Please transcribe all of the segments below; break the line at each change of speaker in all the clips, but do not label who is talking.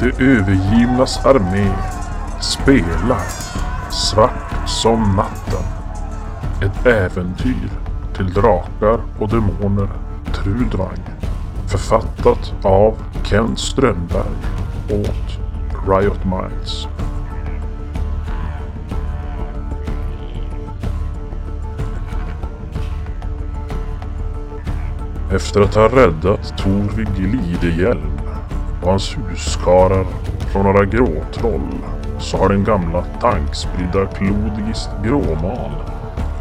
Det övergivnas armé spelar Svart som natten. Ett äventyr till drakar och demoner Trudvang. Författat av Kent Strömberg åt Riot Minds. Efter att ha räddat Torvig Lidehjälm och hans huskarar från några gråtroll så har den gamla tankspridda Klodigis Gråmal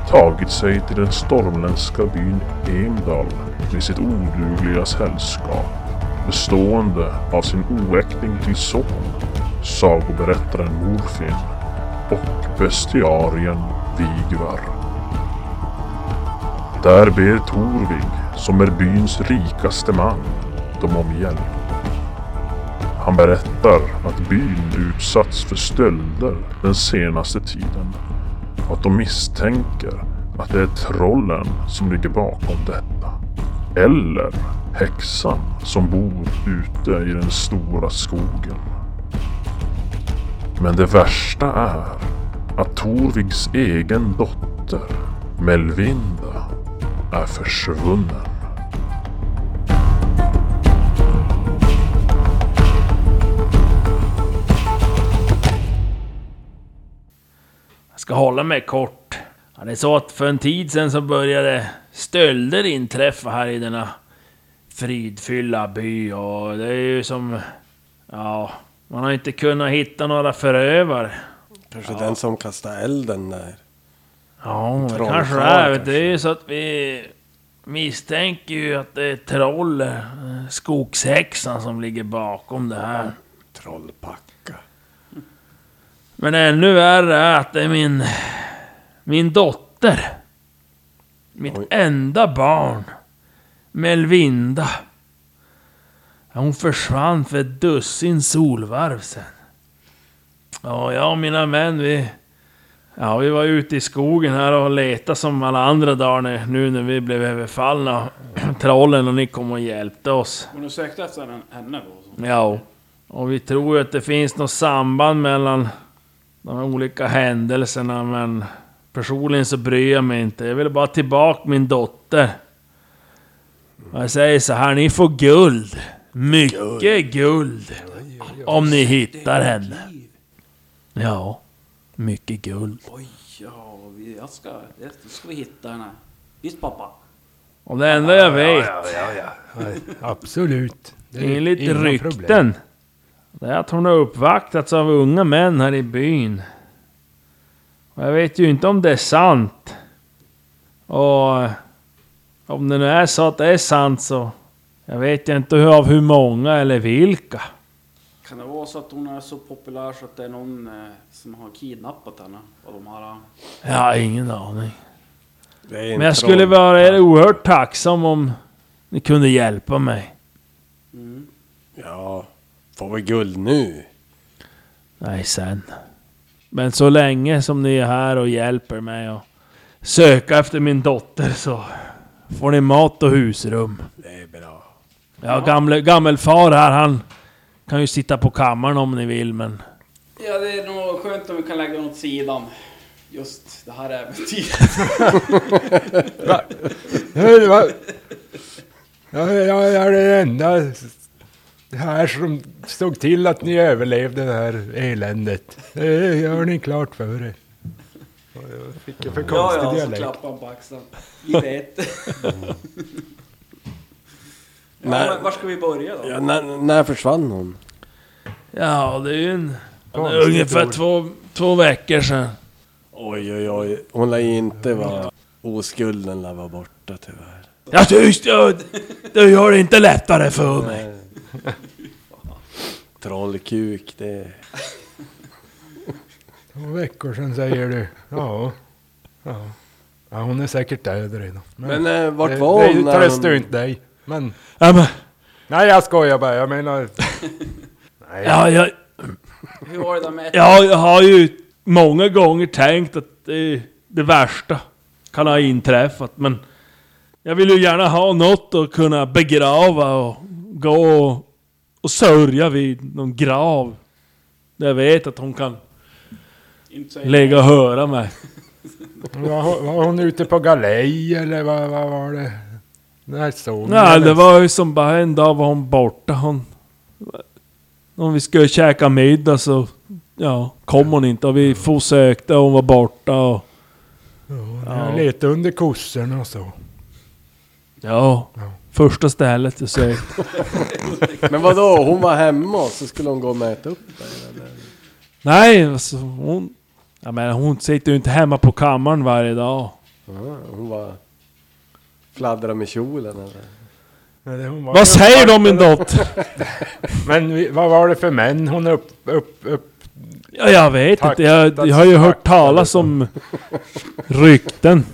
tagit sig till den stormländska byn Emdal med sitt odugliga sällskap bestående av sin oäkting till son, sagoberättaren Morfin och bestiarien Vigvar. Där ber Torvig, som är byns rikaste man, dem om hjälp. Han berättar att byn utsatts för stölder den senaste tiden och att de misstänker att det är trollen som ligger bakom detta. Eller häxan som bor ute i den stora skogen. Men det värsta är att Torvigs egen dotter, Melvinda, är försvunnen.
Jag ska hålla mig kort. Ja, det är så att för en tid sedan så började stölder inträffa här i denna fridfyllda by och det är ju som... Ja, man har inte kunnat hitta några förövare.
Kanske den som kastar elden där.
Ja, det
Trollkarl
kanske det är. vet du.
kanske.
Det är ju så att vi misstänker ju att det är troll, eh, skogshäxan, som ligger bakom det här.
Trollpacka.
Men ännu värre är att det är min... Min dotter. Mitt
Oj.
enda barn. Melvinda. Hon försvann för ett dussin solvarv sen. Ja, jag och mina män vi... Ja, vi var ute i skogen här och letade som alla andra dagar när- nu när vi blev överfallna av trollen och ni kom och hjälpte oss.
Och du sökte efter den- henne då? Så.
Ja, och vi tror ju att det finns något samband mellan de här olika händelserna, men personligen så bryr jag mig inte. Jag vill bara tillbaka min dotter. Och Jag säger så här, ni får guld. Mycket guld. Om ni hittar henne. Ja, mycket guld.
Oj, ja, vi, jag ska, jag ska vi hitta henne. Visst pappa?
Och det enda jag vet,
Absolut. Det är
Enligt
inga
rykten.
problem.
Det är att hon har uppvaktats av unga män här i byn. Och jag vet ju inte om det är sant. Och eh, om det nu är så att det är sant så... Jag vet ju inte hur, av hur många eller vilka.
Kan det vara så att hon är så populär så att det är någon eh, som har kidnappat henne? Och de här... eh,
Jag har ingen aning.
Det är en
Men jag skulle
troll.
vara er oerhört tacksam om ni kunde hjälpa mig.
Ja. Får vi guld nu?
Nej, sen. Men så länge som ni är här och hjälper mig och söka efter min dotter så får ni mat och husrum.
Det är bra.
Ja, gamle, gammelfar här, han kan ju sitta på kammaren om ni vill, men...
Ja, det är nog skönt om vi kan lägga den åt sidan. Just det här äventyret.
Nej, det var... Jag, jag är den enda här som såg till att ni överlevde det här eländet. Det gör ni klart för er. Vilken för konstig
ja, ja, så
dialekt.
klappar han på axeln. Vi vet. ja,
Nej.
men var ska vi börja då?
Ja, när, när försvann hon?
Ja, det är ju en... Det är
Konstigt
ungefär
ord.
två, två veckor sedan.
Oj, oj, oj. Hon lär inte vara... Oskulden lär vara borta tyvärr.
Ja, tyst! Jag, du gör det inte lättare för mig.
Trollkuk, det...
Två veckor sedan säger du. Ja. Ja, ja hon är säkert död redan.
Men eh, vart
det,
var
det
hon
tröstar ju inte dig. Men...
Ja, men,
Nej jag skojar bara. Jag menar... Nej.
ja, jag,
Hur var det där med
Ja, jag har ju många gånger tänkt att det, det värsta kan ha inträffat, men jag vill ju gärna ha något att kunna begrava och gå och och sörja vid någon grav. Där jag vet att hon kan
Inte säga
lägga och höra mig.
Var, hon- var hon ute på galej eller vad, vad var det? När såg ni
Nej,
henne?
det var ju som bara en dag var hon borta. Hon, om vi skulle käka middag så ja, kom hon inte. Och vi for sökte och hon var borta. Och,
Jag letade under kossorna och så.
ja, första stället jag sökte.
Men vadå, hon var hemma och så skulle hon gå och mäta upp dig eller?
Nej, alltså, hon... Jag menar, hon sitter ju inte hemma på kammaren varje dag.
Ja, Hon var fladdra med kjolen eller?
Men det- hon var ju-
Vad säger du om min dotter?
Men vi, vad var det för män hon upp... upp, upp?
Ja, jag vet
Tack.
inte. Jag, jag har ju hört talas om rykten.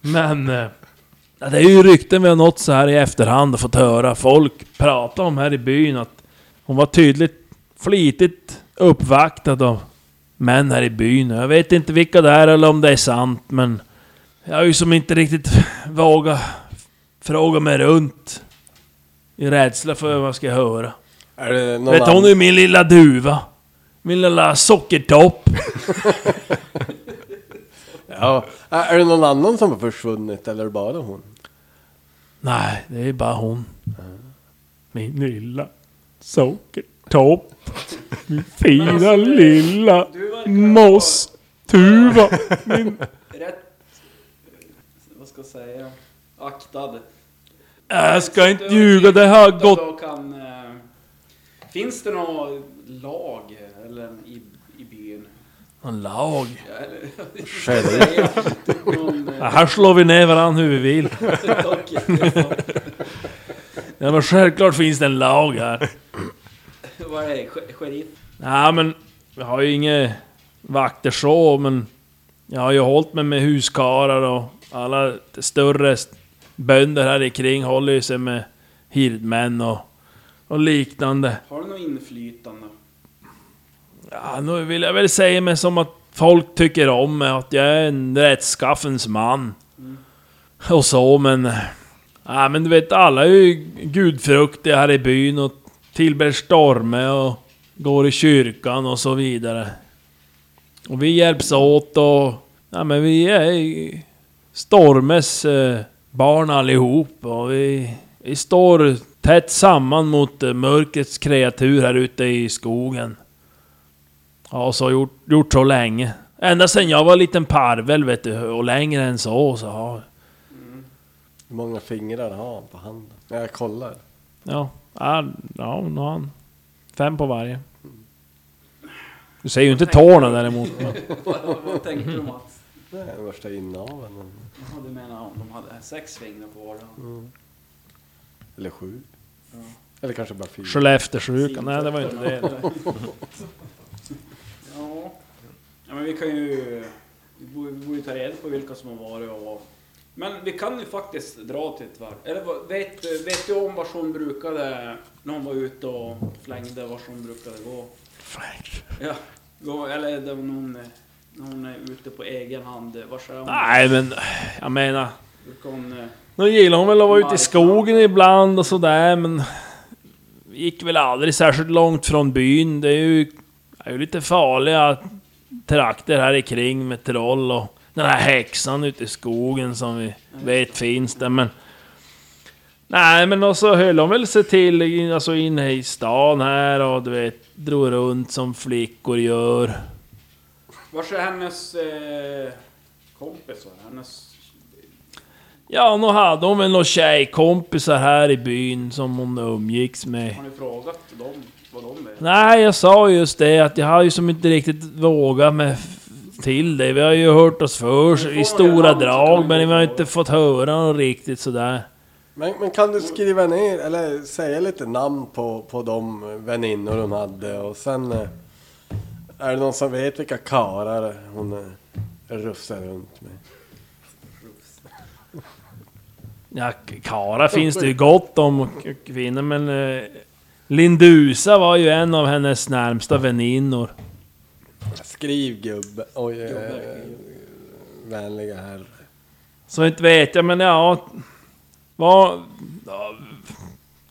Men... eh, Ja, det är ju rykten vi har nått så här i efterhand och fått höra folk prata om här i byn att hon var tydligt flitigt uppvaktad av män här i byn. Jag vet inte vilka det är eller om det är sant men jag har ju som inte riktigt vågat fråga mig runt i rädsla för vad jag ska höra.
Är det någon
Vet du,
annan-
hon är min lilla duva. Min lilla sockertopp.
Ja. Är är det någon annan som har försvunnit eller är det bara hon?
Nej, det är bara hon. Min lilla sockertopp. Min fina lilla
Du verkar
mosstuva.
vara Rätt... Vad ska jag säga? Aktad.
Jag ska inte ljuga, det har gått...
Då Kan, eh, finns det något lag eh, eller, i, i byn?
En lag.
Ja, Eller,
Sheriff.
någon,
Ja,
eh,
här slår vi ner varandra hur vi vill.
lag.
Ja, men självklart finns det en lag här.
Vad är det? Sh- Sheriff?
Nej men, jag har ju inga vakter så, men jag har ju hållit mig med huskarar och alla större st- bönder här i kring håller ju sig med hirdmän och, och liknande.
Har du något inflytande?
Ja, nu vill jag väl säga mig som att folk tycker om mig, att jag är en rättskaffens man. Och så, men... Ja, men du vet, alla är ju gudfruktiga här i byn och tillber storme och går i kyrkan och så vidare. Och vi hjälps åt och... Ja, men vi är ju Stormes eh, barn allihop och vi, vi står tätt samman mot eh, mörkrets kreatur här ute i skogen. Ja, så har gjort, gjort så länge. Ända sen jag var en liten parvel vet du, och längre än så så har...
Hur många fingrar har han på handen? Jag kollar.
Ja, ja, ja nu har han fem på varje. Du ser ju inte tårna däremot. Men.
Vad vad tänkte du Mats?
Det är den värsta inaveln.
Jaha, du menar om de hade sex fingrar på vardera?
Eller sju. Eller kanske bara fyra.
Skellefteåsjukan, nej det var ju inte det.
Ja. ja, men vi kan ju... Vi borde, vi borde ta reda på vilka som har varit och vad. Men vi kan ju faktiskt dra till ett varv. Eller vad- vet, vet du om var hon brukade, när hon var ute och flängde, var hon brukade gå? Ja, gå, eller det var någon, eh, när hon är ute på egen hand, var är hon?
Nej men, jag menar...
Brukar hon... eh,
Nu gillar hon väl att vara ute i skogen ibland och sådär men... Gick väl aldrig särskilt långt från byn. Det är ju, är ju lite farliga trakter här i kring med troll och den här häxan ute i skogen som vi vet finns där men... Nej men och så höll hon väl sig till i- alltså inne i stan här och du vet drog runt som flickor gör.
Var är hennes eh, kompisar? Hennes...
Ja, nog hade hon väl några tjejkompisar här i byn som hon umgicks med.
Har ni frågat dem vad de vet?
Nej, jag sa just det att jag har ju som inte riktigt vågat mig f- till det. Vi har ju hört oss för i stora drag, men vi har inte fått höra något riktigt sådär.
Men, men kan du skriva ner eller säga lite namn på, på de väninnor hon hade och sen eh, är det någon som vet vilka karar hon eh, rufsar runt med?
Ja, kara finns det ju gott om och och kvinnor, men... Eh, Lindusa var ju en av hennes närmsta väninnor.
Skriv gubbe. Oj, eh,
Gubbe.
vänliga herr.
Så inte vet jag, men ja... Vad... Ja,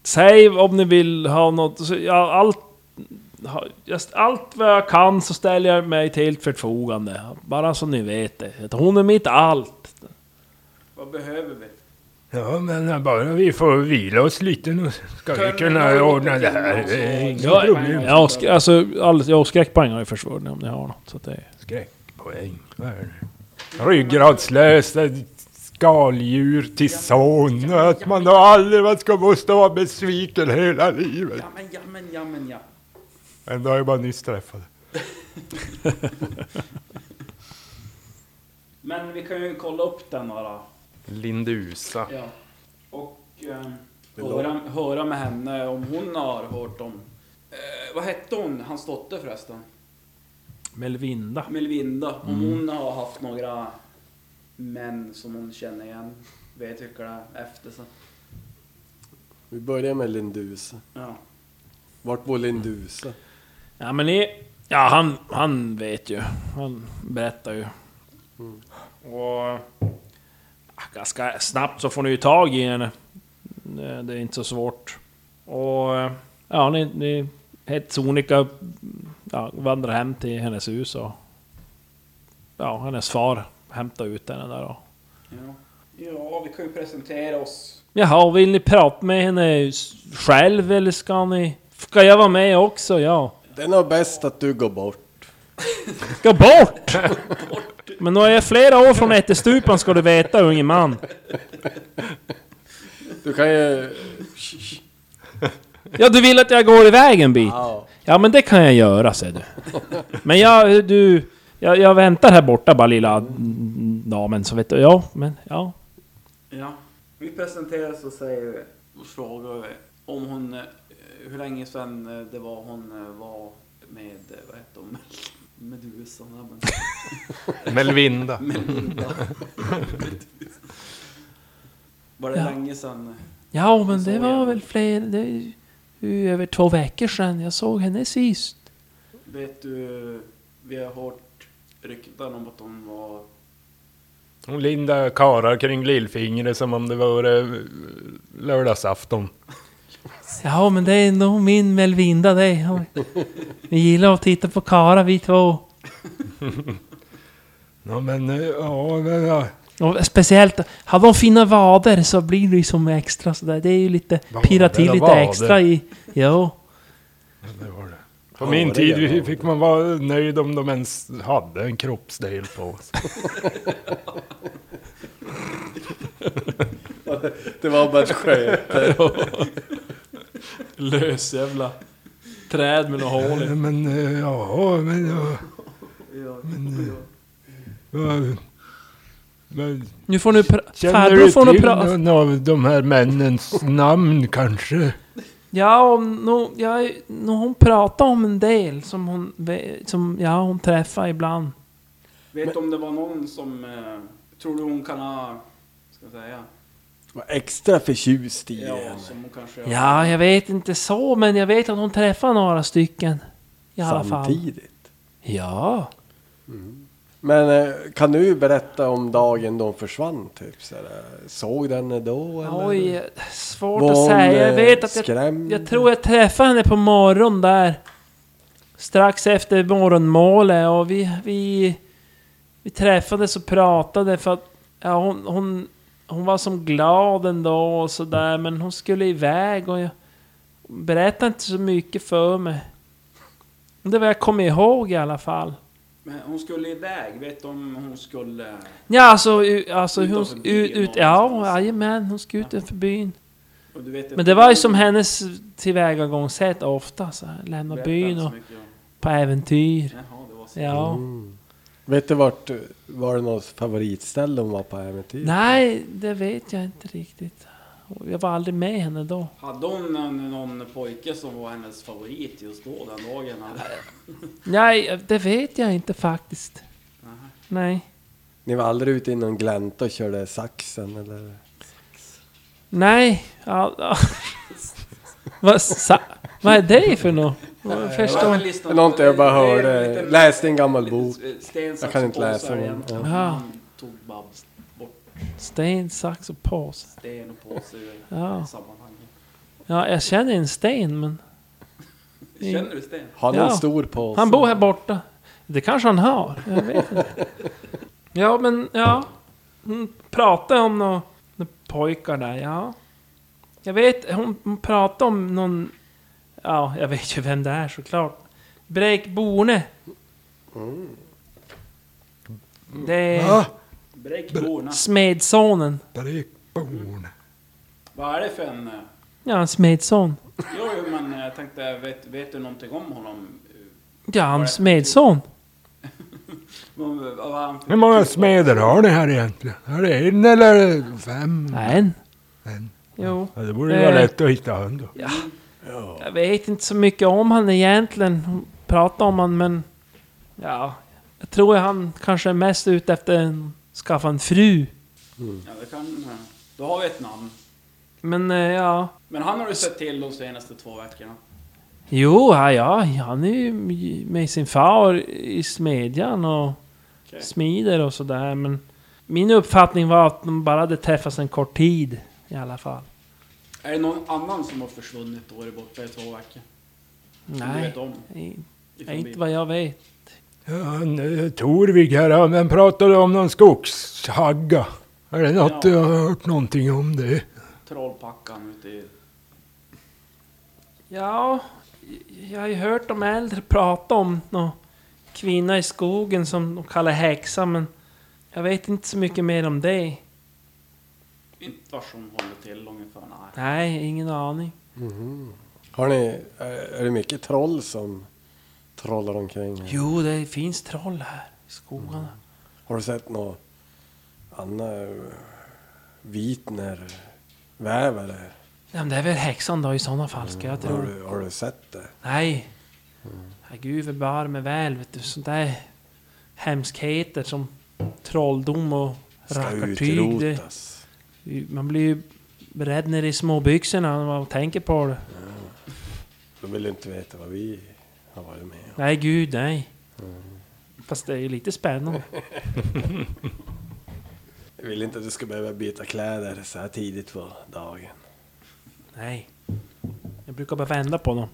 Säg om ni vill ha något. Så, ja, allt, ha- just allt vad jag kan så ställer jag mig till ert förfogande. Bara så ni vet det. Att Hon är mitt allt.
Vad behöver vi?
Ja, men bara vi får vila oss lite nu ska vi kunna ordna det här. Det är inga
Ja,
problem.
Jag har, sk- alltså, all, jag har skräckpoäng har ju försvunnit om ni har något. Så att det är...
Skräckpoäng. Vad är det? Ryggradslösa skaldjur till son. och Att man då aldrig man ska måste vara besviken hela livet.
Ja men ja men ja men ja.
Ändå har jag bara nyss träffat.
Men vi kan ju kolla upp den här.
Lindusa.
Ja. Och ehm,
låter-
höra, höra med henne om hon har hört om... Eh, vad hette hon, hans dotter förresten?
Melvinda.
Melvinda. Om hon har haft några män som hon känner igen. Vet vilka det är efter sig.
Vi börjar med Lindusa.
Ja.
Vart bor Lindusa?
Ja men ni... Ja han, han vet ju. Han berättar ju. Mm. Och... ja, Ah, Ganska snabbt så får ni ju tag i henne. Eh, Det är inte så svårt. Och... eh, Ja ni... ni helt sonika ja, vandrar hem till hennes hus och... Ja, hennes far hämtar ut henne där och...
Ja. ja, vi kan ju presentera oss.
Jaha, vill ni prata med henne själv eller ska ni... Ska jag vara med också? Ja.
Det är nog bäst att du går bort.
Ska bort! Men då är jag flera år från ättestupan ska du veta unge man.
Du kan ju...
Ja du vill att jag går iväg en bit?
Ja.
Ja men det kan jag göra säger du. Men jag, du... Jag, jag väntar här borta bara lilla mm, damen så vet du. Ja, men ja.
Ja. Vi presenterar oss och säger vi. Och frågar vi om hon... eh, Hur länge sedan eh, det var hon eh, var med... eh, Vad hette hon? Medusa. nej, men-
Melvinda.
Melinda. Var det
Ja.
länge sedan?
Ja men det var väl fler... Det är ju- ju över två veckor sedan jag såg henne sist.
Vet du, vi har hört rykten om att hon var...
Hon lindar karar kring lillfingret som om det vore eh, lördagsafton.
Ja men det är nog min Melvinda det. Vi gillar att titta på Kara vi två.
Ja, men eh, ja, men ja.
Och speciellt, har de fina vader så blir det ju som extra sådär. Det är ju lite,
Vader
pirra till
och
lite
vader.
extra i... Jo.
Det var det. På min tid vi- fick man vara nöjd om de ens hade en kroppsdel på sig.
Det var bara ett skämt.
Lös jävla träd med några hål
Eh, Men eh, ja, men ja.
Ja,
ja, Men,
Nu får ni pra-
känner
Farbror
du
får nog
till
prata...
någon av de här männens namn kanske?
Ja, om nog... Ja, nog hon pratar om en del som hon... ve- Som, ja, hon träffar ibland.
Vet du om det var någon som... Eh, tror du hon kan ha... Ska jag säga?
Var extra förtjust i
Ja,
henne.
som hon kanske...
Ja, jag vet inte så, men jag vet att hon träffar några stycken. I alla fall.
Samtidigt.
Ja.
Men eh, kan du berätta om dagen de försvann typ? Så här, såg den henne då eller?
Oj, svårt
Var
att
hon,
säga.
eh,
Jag vet att jag,
skrämd?
jag tror jag träffade henne på morgonen där. Strax efter morgonmålet och vi, vi, vi träffades och pratade för att ja, hon, hon, hon var som glad ändå och sådär men hon skulle iväg och jag berättade inte så mycket för mig. Det är vad jag kommer ihåg i alla fall.
Men hon skulle iväg, vet du om hon skulle...
Ja, alltså, u- alltså hon,
Utanför byn
ut, ut, ja,
någonstans.
jajamän, hon ska ut utanför byn.
Och du vet,
Men det var ju som hennes tillvägagångssätt ofta, så här, lämna byn och på äventyr.
Jaha, det var så.
Ja.
Vet du vart, eh, var det något favoritställe hon var på äventyr?
Nej, det vet jag inte riktigt. Jag var aldrig med henne då.
Hade hon någon, någon pojke som var hennes favorit just då, den dagen? eller?
Nej, det vet jag inte faktiskt. Nej.
Ni var aldrig ute i någon glänta och körde saxen eller?
Nej. Ja, ja. Vad sa... Vad är det för något? Jag
Ja, men
Förstår.
listan-
Det är någonting jag bara
det är
hörde.
en liten-
Läste en gammal bok.
Sten,
Jag kan inte läsa, men-
igen.
ja.
Han tog bara bort
Sten, sax och påse.
sten och påse i
Ja.
sammanhanget.
Ja, jag känner en sten men...
Känner du Sten?
Har ni
Ja.
en stor påse?
Han bor här borta. Det kanske han har. Jag vet inte. Ja, men ja. Hon pratade om några pojkar där, ja. Jag vet, hon hon pratade om någon... Ja, jag vet ju vem det är såklart. Break Borne. Det är
Va?
Break borna.
smedsonen.
Brekborn.
Vad är det för en... eh,
Ja, en smedson.
Jo, jo, men eh, jag tänkte, vet, vet du någonting om honom?
Ja, en smedson.
Vad- eh, vad- vad han för-
Hur många smeder har ni här egentligen? Är det en eller fem?
Nej, en.
En.
Jo.
Ja, det borde ju vara
Eh.
lätt att hitta han då.
Jag vet inte så mycket om han egentligen. Hon pratade om han men... Ja. Jag tror han kanske är mest ute efter en... Skaffa en fru.
Ja, det kan... eh, Då har vi ett namn.
Men eh, ja...
Men han har du sett till de senaste två veckorna.
Jo, ja, ja, han är ju med sin far i smedjan och
Okej.
smider och sådär men... Min uppfattning var att de bara hade träffats en kort tid i alla fall.
Är det någon annan som har försvunnit då är borta i två veckor? Som du
Nej,
vet om? liksom
i-
ifrån
inte
Bibeln?
vad jag vet.
Ja, han, eh, Torvig här, han han pratade om någon skogshagga. Är det något
Ja.
du har hört någonting om det?
Trollpackan ute i...
Ja, jag har ju hört de äldre prata om någon kvinna i skogen som de kallar häxa, men jag vet inte så mycket mer om det.
Inte var som håller till ungefär. Nej.
Nej, ingen aning.
Har ni, är, är det mycket troll som trollar omkring? här?
Jo, det finns troll här i skogarna.
Har du sett eh, något Anna Vitner vävare?
Ja, men det är väl häxan då i sådana fall, ska jag
Har
tro.
du, har du sett det?
Nej. Ja, Gud bevare mig väl, vet du. Sånt där hemskheter som trolldom och
Ska
rackartyg. Det,
utrotas.
man blir ju rädd nere i småbyxorna när man tänker på det.
Du vill inte veta vad vi har varit med om.
Nej, gud nej. Fast det är ju lite spännande.
Jag vill inte att du ska behöva byta kläder så här tidigt på dagen.
Nej. Jag brukar bara vända på dem.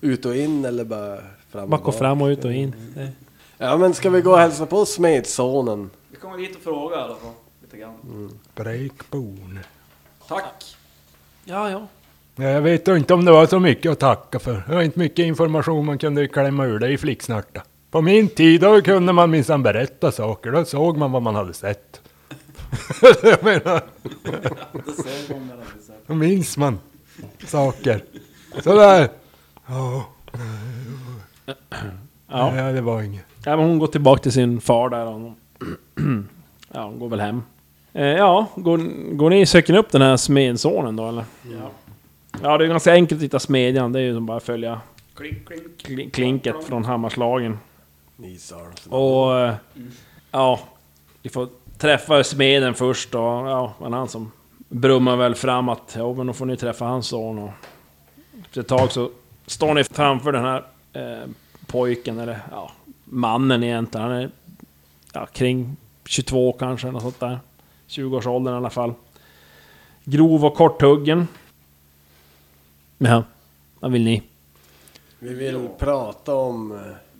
Ut och in eller bara fram
Bak och fram och ut och in. Det-
Ja men ska vi gå och hälsa på smedsonen?
Vi kommer dit och frågar i alla fall. Lite grann.
Mm.
Brekborn.
Tack!
Ja, ja.
Ja, jag vet ju inte om det var så mycket att tacka för. Det var inte mycket information man kunde klämma ur dig i flicksnärta. På min tid då kunde man minsann berätta saker. Då såg man vad man hade sett. jag menar,
Det ser man mellan vissa.
då minns man saker. Sådär. Ja,
Ja.
nej, det var inget.
ja, men hon går tillbaka till sin far där. Och ja, hon går väl hem. Eh, ja, går, går ni söker ni upp den här smedsonen då eller?
Ja.
Ja, det är ganska enkelt att hitta smedjan. Det är ju som bara att följa
Klink, klink.
kli- klinket från hammarslagen.
These are some-
Och eh, ja, vi får träffa smeden först och ja, men han som brummar väl fram att ja, men då får ni träffa hans son och efter ett tag så står ni framför den här eh, pojken eller ja, mannen egentligen. Han är ja, kring 22 kanske, något sånt där. 20-årsåldern i alla fall. Grov och korthuggen. Ja, vad vill ni?
Vi vill prata om eh,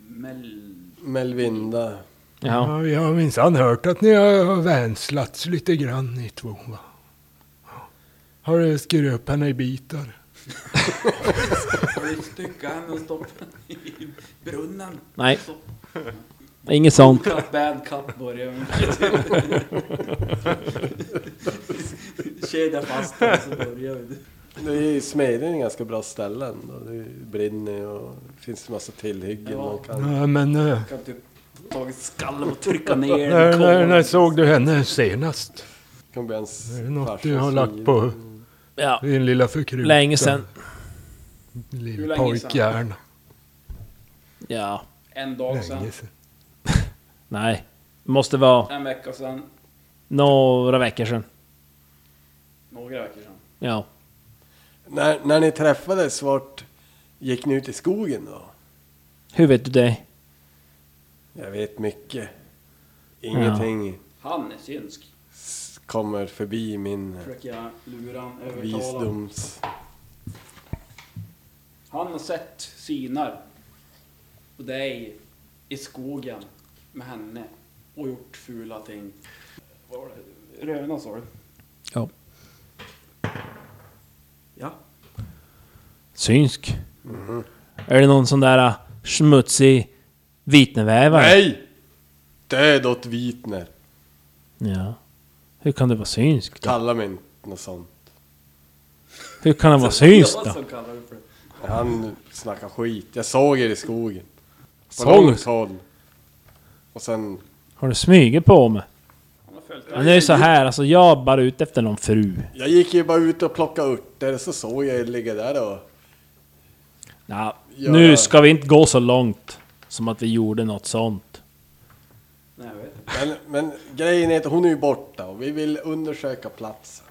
Mel...
Melvinda.
Ja,
Ja, jag har minsann hört att ni har vänslats lite grann ni två. Va? Har du skurit upp henne i bitar?
Har du styckat henne och stoppat henne i brunnen?
nej. Inget sånt.
Cup, bad cup börjar med. Kedja fast den så börjar vi.
Det är ju smedjan en ganska bra ställe ändå. Det brinner och det finns en massa tillhyggen.
Ja.
Man kan...
Ja, men eh,
Kan typ tagit skallen och trycka ner
när,
den.
när, när såg du henne senast?
kan bli ens
Är det något
farsas
du har lagt
fiende.
på
Ja,
din lilla förkrutna
länge sen.
Hur
lilla
länge
pojkhjärna?
Ja.
En dag sen,
Länge sen.
Nej. Måste vara
en vecka sen,
några veckor sedan.
några veckor sen.
Ja.
När, när ni träffades, vart gick ni ut i skogen då?
Hur vet du det?
Jag vet mycket. Ingenting
Han är synsk.
s- kommer förbi min
Försöka lura han, övertala han.
visdoms...
Han har sett syner på dig i skogen med henne och gjort fula ting. Vad var det? Röna sa du?
Ja.
Ja.
Synsk.
Mhm.
Är det någon sån där äh, smutsig vitnevävare?
Nej! Död åt Vitner.
Ja. Hur kan det vara synsk då?
Kalla mig inte något sånt.
Hur kan det vara synsk
Jag
då?
som kallar det för det.
Han snackar skit. Jag såg er i skogen. På
Såg?
långt håll. Och sen...
Har du smugit på mig?
Han har följt
Men det är ju så här, alltså jag är bara ute efter någon fru.
Jag gick ju bara ut och plockade örter så såg jag er ligga där och...
Ja,
Ja,
nu
ja.
ska vi inte gå så långt som att vi gjorde något sånt.
Nej, jag vet.
Men, men grejen är att hon är ju borta och vi vill undersöka platsen.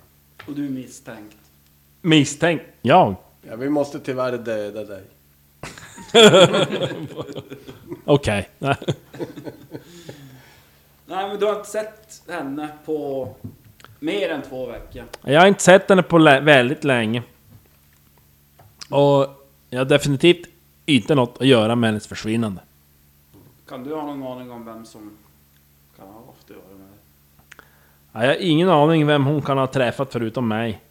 Och du är misstänkt.
Misstänk. Jag?
Ja, vi måste tyvärr döda dig.
Okej. Nej.
Nej, men du har inte sett henne på mer än två veckor.
Jag har inte sett henne på lä- väldigt länge. Och jag har definitivt inte något att göra med hennes försvinnande.
Kan du ha någon aning om vem som kan ha haft att göra med det?
Ja, Jag har ingen aning vem hon kan ha träffat förutom mig.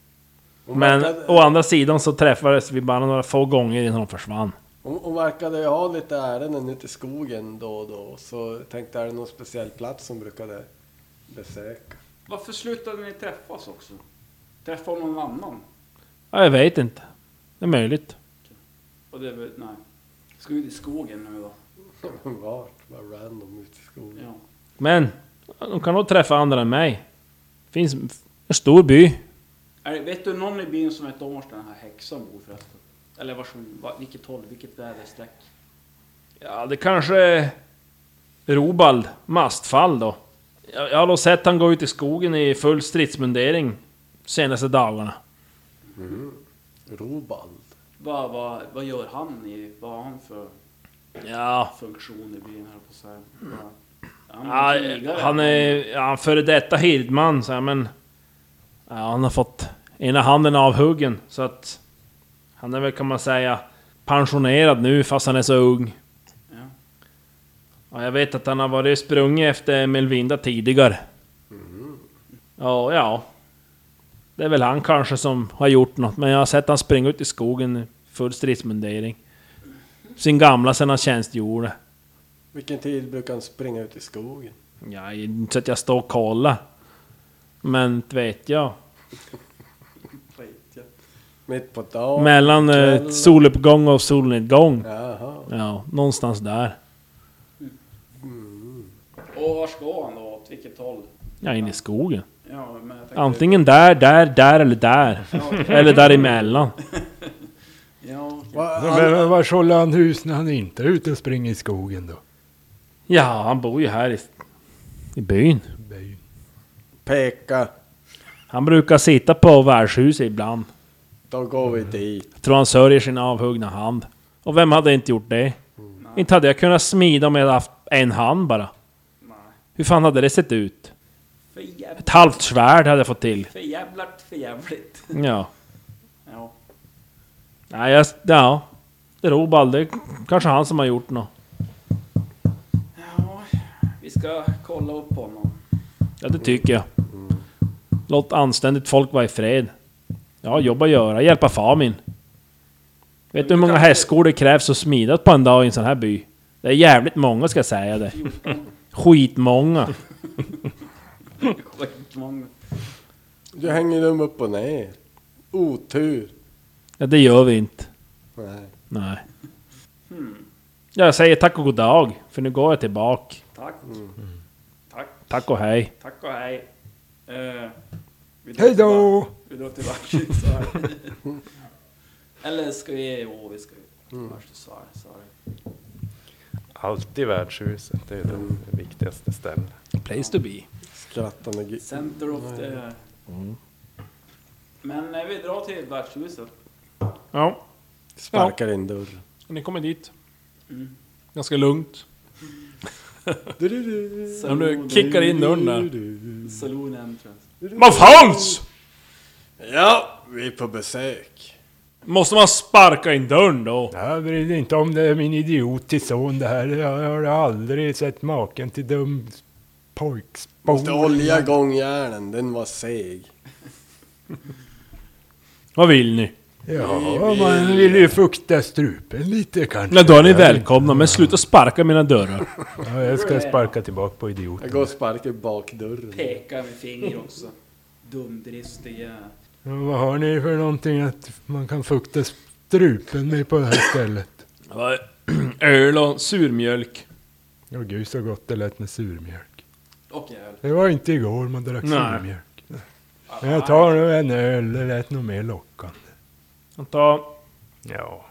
Hon,
Men
verkade,
å andra sidan så träffades vi bara några få gånger innan hon försvann.
hon, hon verkade ju ha lite ärenden ute i skogen då och då. Så jag tänkte, är det någon speciell plats hon brukade besöka?
Varför slutade ni träffas också? Träffade hon någon annan?
Ja, jag vet inte. Det är möjligt.
Och det, är väl- nej. Ska vi ut i skogen nu då?
Vart? Bara random ute i skogen.
Ja.
Men de kan nog träffa andra än mig. Finns en stor by.
Är, det- vet du någon i byn som vet om vart den här häxan bor förresten? Eller vars, va- vilket håll, vilket väderstreck?
Ja, det kanske är Robald Mastfall då. Jag jag har då sett han gå ut i skogen i full stridsmundering senaste dagarna.
Robald.
Vad, vad, vad gör han i, vad har han för Ah.
Ja,
funktion i byn här på så här? Ja,
ja han är ja, före detta hirdman så här, men... Ja, han har fått ena handen avhuggen så att... Han är väl kan man säga pensionerad nu fast han är så ung.
Ja.
Ja, jag vet att han har varit och sprungit efter Melvinda tidigare. Ja, ja. Det är väl han kanske som har gjort något, men jag har sett han springa ut i skogen i full stridsmundering. Sin gamla sen han tjänstgjorde.
Vilken tid brukar han springa ut i skogen?
Ja, inte så att jag står och kollar. Men inte vet jag.
Mitt på dagen?
Mellan eh,
kväll.
soluppgång och solnedgång.
Jaha.
Ja, någonstans där.
Och var ska han då? Åt vilket håll?
Ja, in i skogen.
Ja, men jag tänkte,
Antingen där, där, där eller där. Eller däremellan.
Ja,
Va,
Men men var håller han hus när han inte är ute och springer i skogen då?
Ja, han bor ju här i, i byn.
Det är ju-
peka.
Han brukar sitta på värdshuset ibland.
Då går vi dit.
Jag tror han sörjer sin avhuggna hand. Och vem hade inte gjort det? Inte hade jag kunnat smida om jag hade haft en hand bara. Hur fan hade det sett ut?
för jävligt,
Ett halvt svärd hade jag fått till.
för jävligt, för jävligt.
Ja.
Ja.
Nej, jag... Ja. Det är Robald. Det är kanske han som har gjort något.
ja, vi ska kolla upp honom.
Ja, det tycker jag. Låt anständigt folk vara i fred. Jag har jobb att göra. Hjälpa Famin. Vet du hur många hästskor det krävs att smida på en dag i en sån här by? Det är jävligt många ska jag säga det. Skitmånga.
Skitmånga.
Du hänger dem upp och ner. Otur.
Ja, det gör vi inte.
Nej.
Nej. Ja, jag säger tack och god dag, för nu går jag tillbaka.
Tack. Tack,
Tack och hej.
tack och hej. Eh, vi drar
Hej då!
tillbaka- Vi drar tillbaka så här. Eller ska vi... Jo, vi ska ju...
Mm.
Värsta svar, sorry.
Alltid värdshuset, det är
Mm.
det viktigaste stället.
Place to be.
Skrattande gris.
Center of the... Men eh, vi drar till värdshuset.
Ja,
Sparkar in dörren.
ni kommer dit. Ganska lugnt.
Du, du, du.
Om du kickar in dörren där.
Saloon entrance.
Vad fanns?
Ja, vi är på besök.
Måste man sparka in dörren då?
Jag bryr mig inte om det är min idiotiska son det här. Jag har aldrig sett maken till dum
Oh,
Måste
pojkspor.
olja gångjärnen, den var seg.
Vad vill ni?
Ja, man vill ju fukta strupen lite kanske.
Ja, då är ni välkomna, men sluta sparka i mina dörrar.
Ja, jag ska sparka tillbaka på idioten.
Jag går och sparkar bakdörren.
Pekar med finger också. Dumdristig jävel.
Ja, Vad har ni för någonting att man kan fukta strupen med på det här stället?
Öl och surmjölk.
Åh gud så gott det lät med surmjölk.
Och jävel.
Det var inte igår man drack
Nej.
surmjölk. Men jag tar nu en öl, det lät nog mer lockande.
Ta
Ja.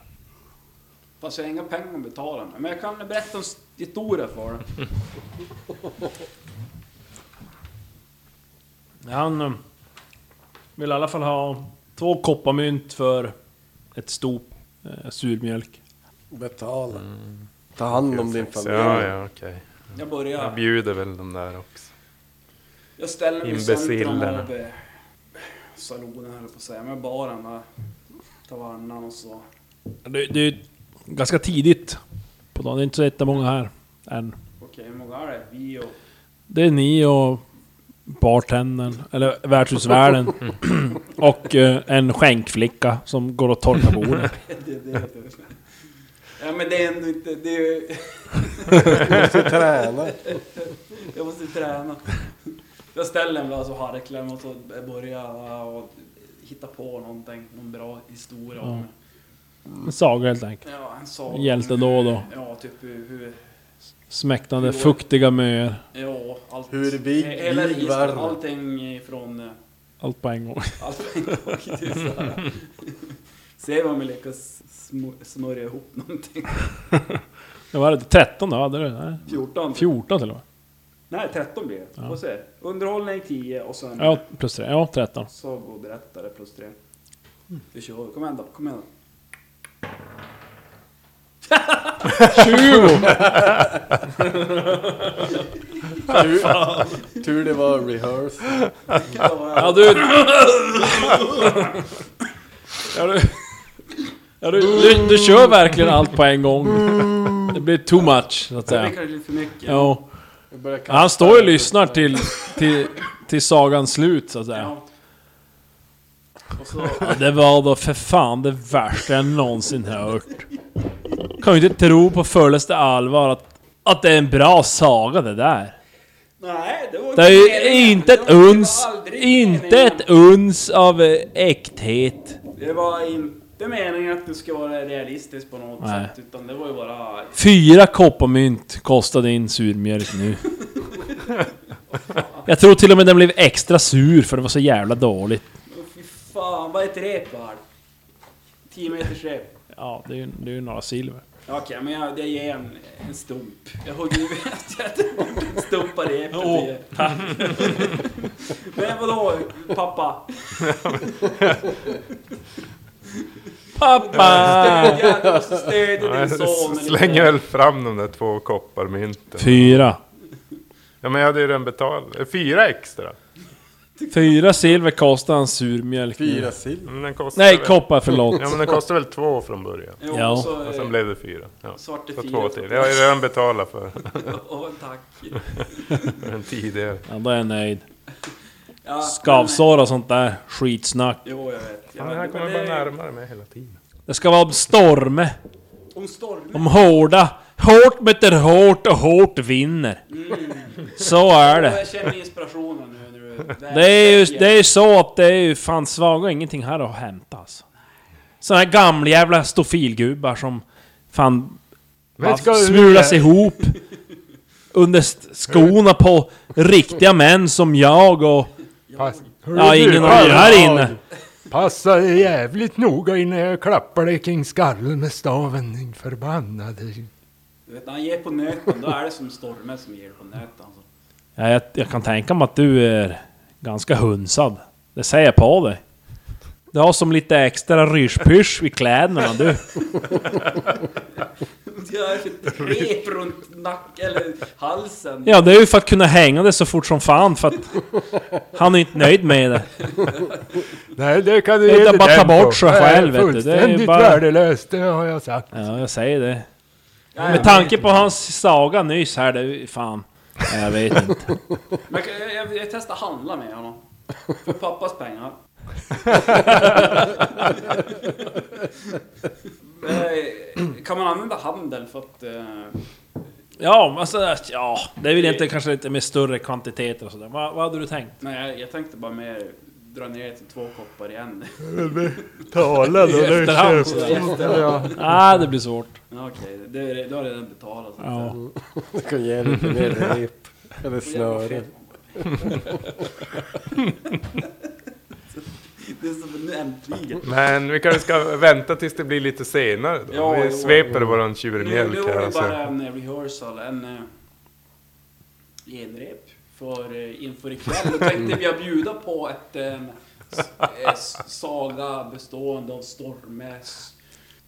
Fast jag har inga pengar att betala med. Men jag kan berätta en s- historia för dig.
Han eh, vill i alla fall ha två koppar mynt för ett stop eh, surmjölk.
Betala. Ta hand om din familj.
Ja, ja, okej.
Jag
Jag
börjar.
bjuder väl de där också.
Jag ställer mig i centrum
Imbecillerna.
av eh, salonen höll jag på att säga. Men baren va. Tavernan och så.
Det, det är ju ganska tidigt på dagen, det är inte så jättemånga här än.
Okej, hur många är det? Vi och...
Det är ni och bartendern, eller värdshusvärden. och eh, en skänkflicka som går och torkar bordet.
Det, det, det. Ja men det är ändå inte... Det är,
Måste träna.
jag måste träna. Jag ställer mig alltså och harklar mig och så börjar och hitta på någonting. Någon bra historia om...
En saga helt enkelt.
Ja, en sak.
Hjälte då och då.
Ja, typ hur... hur
Smäktande, fuktiga möer.
ja, allt.
Hur vi-
Hela
vi
registret,
var.
allting från... eh,
Allt på en gång.
Allt på en gång. Alltså, det är så här. Se om vi lyckas sm- smörja ihop någonting.
Det var 13 då, hade du? Nej,
14.
14 till och med.
Nej, 13 blir det. Får se. Underhållning 10 och sen...
Ja, plus 3. Ja, 13.
Sagoberättare plus tre.
Mm.
Vi kör. Kom igen då, kom igen då.
20!
Tur det var rehearsal.
Ja du... Ja du... Ja, du, du, du kör verkligen allt på en gång. Det blir too much, så att
Det
säga.
blir kanske lite för mycket.
Ja.
Jag börjar kasta.
Han står ju och lyssnar till, till, till sagans slut, så att säga.
Ja. Och så...
Ja, det var då för fan det värsta jag någonsin hört. Kan ju inte tro på fullaste allvar att, att det är en bra saga det där.
Nej, det var
Det är
meningen.
ju inte ett
Det var
uns,
aldrig
inte
meningen.
ett uns av eh, äkthet.
Det var inte meningen att du ska vara realistisk på något
Nej.
sätt. Utan det var ju bara...
Fyra koppar mynt kostar din surmjölk nu. Jag tror till och med den blev extra sur för det var så jävla dåligt.
Åh, Fy fan, vad är ett rep var? 10 meters rep.
Ja, det är ju, det är ju några silver.
Ja, Okej, men jag, jag ger en, en stump. Jag hugger ju jag stumpar repet.
Åh,
i. men vadå, pappa?
Pappa!
Jag stödjer din son. eller
Slänger
inte.
väl fram de där två kopparmynten.
Fyra.
Ja men jag hade ju redan betalat. Fyra extra.
Fyra silver kostar en surmjölk nu.
Fyra sill.
Mm.
Men den kostar
Nej,
väl...
koppar, förlåt.
Ja men den kostar väl två från början.
Jo,
Ja.
och så,
Och sen blev det fyra. Ja.
Svarte
Så
fyra.
två till. Jag har ju redan betalat för
Åh, tack.
för den tidigare.
Ja, då är jag nöjd.
Ja,
Skavsår och sånt där skitsnack.
men- Jo, jag vet. Jag
Den här
vet.
kommer
Men
bara
det-
närmare mig hela tiden.
Det ska vara om storme,
Om stormen.
om hårda. Hårt möter hårt och hårt vinner. Så är det.
Jag känner inspirationen nu när du...
Det är ju det är ju så att det är ju fan svaga ingenting här att hämta alltså. Såna här gamla jävla stofilgubbar som fan bara
ska du-
smulas ihop under st- skorna på riktiga män som jag och...
Pass. Hör
Ja,
du,
ingen av er här
Palma,
inne.
Passa dig jävligt noga innan jag klappar dig kring skallen med staven, din förbannade...
Du vet, när han ger på nöten, då är det som stormen som ger på nöten. Alltså.
Ja, jag, jag kan tänka mig att du är ganska hunsad. Det säger jag på dig. Du har som lite extra rysch-pysch vid kläderna du.
göra ett typ rep runt nack eller halsen.
Ja, det är ju för att kunna hänga det så fort som fan för att han är inte nöjd med det.
Nej, det kan du
Det är
ge
inte
dig
bara ta
den
bort
på.
sig
Det är
själv, vet du. Det är
Fullständigt
bara-
värdelöst, det har jag sagt.
Ja, jag säger det. Med tanke på hans saga nyss här, det är ju fan... Nej, Jag vet inte.
Men jag, jag, jag, jag testar handla med honom. För pappas pengar. Eh, kan man använda handel för att... Eh,
Ja, men alltså, ja, det är väl inte kanske lite med större kvantiteter och sådär. Vad, vad hade du tänkt?
nej, jag, jag tänkte bara mer dra ner till två koppar igen.
Tala då,
I efterhand sådär.
Ja,
Nej, det blir svårt.
Ja, Okej, det, det, då har jag redan betalat. Så att
Ja.
säga.
Du kan ge lite mer rep. Eller snöre.
Det är som nu äntligen.
Men vi kanske ska vänta tills det blir lite senare då.
Ja,
Vi
jo,
sveper våran
Nu,
tjurmjölk
nu var
här
det bara
alltså.
en eh, rehearsal, en eh, genrep för, eh, inför ikväll. Då tänkte jag bjuda på ett eh, s- eh, s- saga bestående av Stormes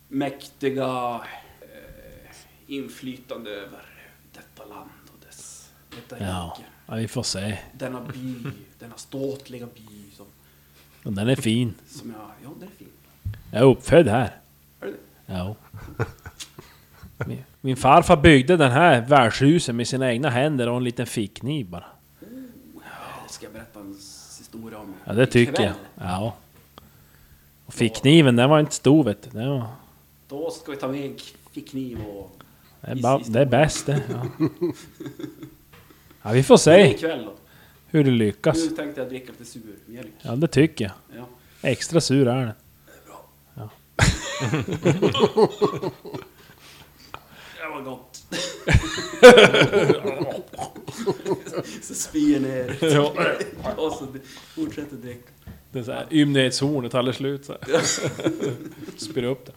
mäktiga eh, inflytande över detta land och dess, detta
Ja.
rike.
ja, vi får se.
Denna by, denna ståtliga by som,
Men Den är fin.
som jag... Ja, den är fin.
Jag är uppfödd här.
Är du det?
Ja. Min, min farfar byggde den här värdshuset med sina egna händer och en liten fickkniv bara.
Ska jag berätta en s- historia om
Ja, det tycker jag.
ikväll?
Ja. Och fickkniven, den var inte stor vet du. Den var,
Då ska vi ta med en fickkniv och...
det, är ba, det är bäst det. Ja. ja, vi får se
Ikväll då.
hur det lyckas.
Nu tänkte jag dricka lite surmjölk.
Ja, det tycker jag.
Ja.
Extra sur är den.
Det var gott. så spyr jag ner. och så fortsätter dricka.
Det är såhär ymnighetshornet, aldrig slut så här. Spyr upp det.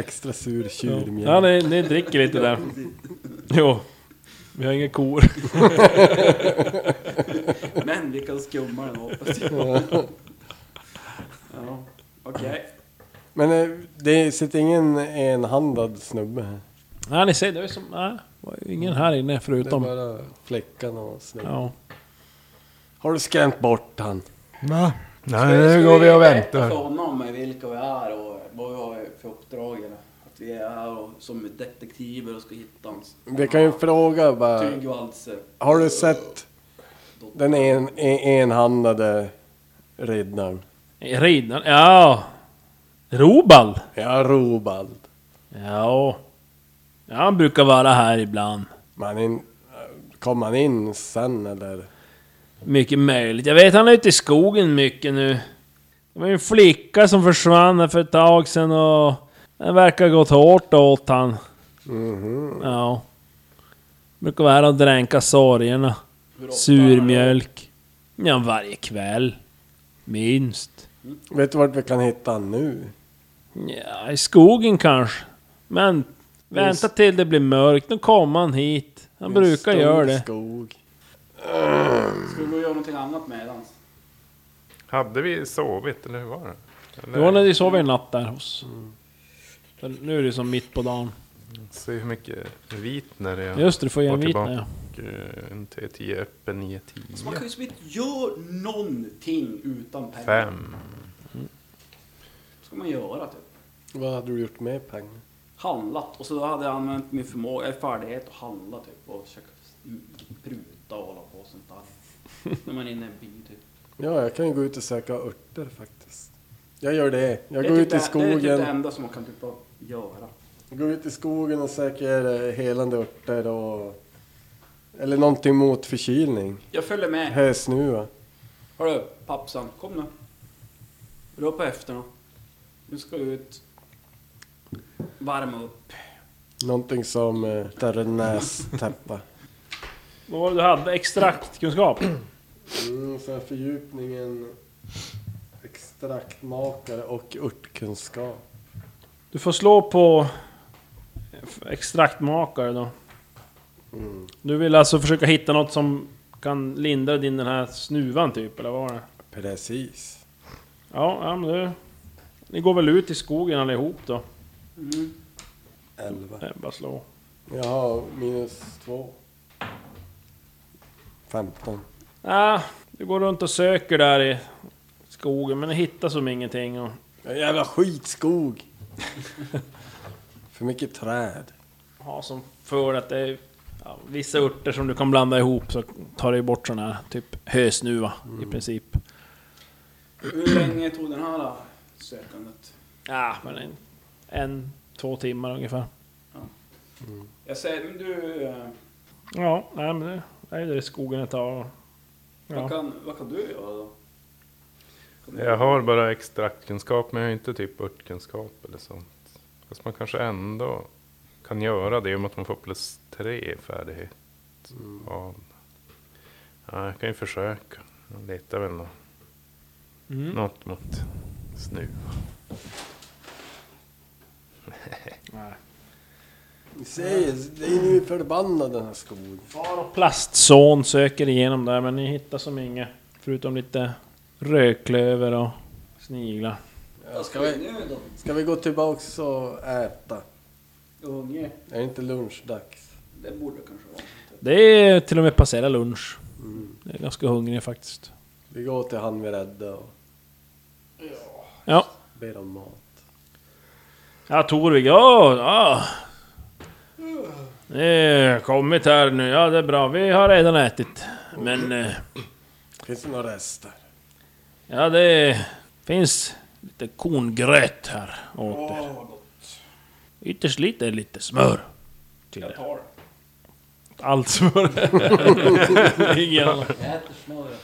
Extra sur
Ja,
tjurmjölk.
ni, ni dricker lite där. Jo. Vi har inga kor.
Men vi kan skumma den hoppas jag. ja, okej.
Men eh, det sitter ingen enhandad snubbe här.
Nej, ni ser, det är som... Nej, det var ju ingen här inne
Det är
förutom...
bara fläckarna och snubben.
Ja.
Har du skrämt bort han?
Va? Nej,
Ska-
nu
ska
går vi och
berätta för
väntar.
honom vilka vi är och vad vi har för uppdrag? Eller? Att vi är här och, som detektiver och ska hitta hans...
Vi kan ju fråga bara.
Tygvalse.
Har du sett den en, en, enhandade riddaren?
Riddaren? Ja. Robald?
Ja, Robald.
Ja. ja. Han brukar vara här ibland.
Men in, kom han in sen eller?
Mycket möjligt. Jag vet han är ute i skogen mycket nu. Det var ju en flicka som försvann här för ett tag sedan och... Det verkar gått hårt åt han.
Mhm.
Ja. Brukar vara här och dränka sorgerna.
Hur ofta
Surmjölk. Ja, varje kväll. Minst.
Vet du vart vi kan hitta han nu?
Ja, i skogen kanske. Men vänta till det blir mörkt, då kommer han hit. Han brukar
En stor
göra det.
skog.
Ska vi gå och göra någonting annat medans?
Hade vi sovit eller hur var det? Eller,
Jo, när vi sov en natt där hos... Där- Nu är det som mitt på dagen.
Se hur mycket vitner det är.
Just det, du får ge en
Och
vit
tillbaka.
ja.
Och, eh, En T10 öppen, 9,
Så man
10,
kan ju som inte göra någonting utan pengar.
5.
ska man göra typ.
Vad hade du gjort med pengar?
Handlat. Och så då hade jag använt min förmåga, eh, färdighet att handla typ. Och försöka pruta och hålla på och sånt där. När man är inne i en by typ.
Ja, jag kan ju gå ut och söka örter faktiskt. Jag gör det. Jag
Det är
går
typ
ut i
det- Det är typ det
skogen.
enda som man kan typ bara göra.
Går ut i skogen och söker eh, helande örter och... Eller någonting mot förkylning.
Jag följer med.
Hösnuva.
Hörru, pappsan. Kom nu. Ropa efter nu. Nu ska vi ut. Värma upp.
Någonting som eh, större nästäppa.
Vad var det du hade? Extraktkunskap?
Mm, så här fördjupningen extraktmakare och örtkunskap.
Du får slå på extraktmakare då. Du vill alltså försöka hitta något som kan lindra din den här snuvan typ, eller vad var det?
Precis.
Ja, ja men du... Ni går väl ut i skogen allihop då?
Elva.
Nej, bara slå.
Jag har minus två. Femton.
Ja, du går runt och söker där i skogen, men du hittar som ingenting. Och...
Ja, jävla skitskog! För mycket träd.
Ja, som för att det är ja, vissa örter som du kan blanda ihop så tar det ju bort såna här, typ hösnuva i princip.
Hur länge tog den här då, sökandet?
Ja, men en, en, två timmar ungefär.
Jag säger, men du... eh,
Ja, nej men det det är ju där i skogen ett tag. och-
Vad,
Ja.
kan, vad kan du göra då? Kan du-
Jag har bara extraktkunskap men jag har inte typ örtkunskap eller sånt. Fast man kanske ändå kan göra det om att man får plus tre i färdighet.
Mm.
Ja. Ja, jag kan ju försöka. Jag letar väl nå-
Mm.
något mot snuva.
Ni ser, det är ju förbannad den här skogen.
Far och plastson söker igenom där, men ni hittar som inget. Förutom lite rödklöver och sniglar.
Vad ska
Ska vi-
vi nu då?
Ska vi gå tillbaks och äta?
Unge?
Är det inte lunchdags?
Det borde kanske vara.
Det är till och med passera lunch. Jag är ganska hungrig faktiskt.
Vi går till han vi räddade och
Ja,
ber om mat.
ja Torvig. Ja, ja. Ni har kommit här nu. Ja, det är bra. Vi har redan ätit. Men... eh,
Finns det några rester?
Ja, det finns lite korngröt här åt er.
Åh, vad gott.
Ytterst lite, lite smör. Till
Jag
det.
tar det.
Allt smör. Ingen annan.
Jag äter smöret.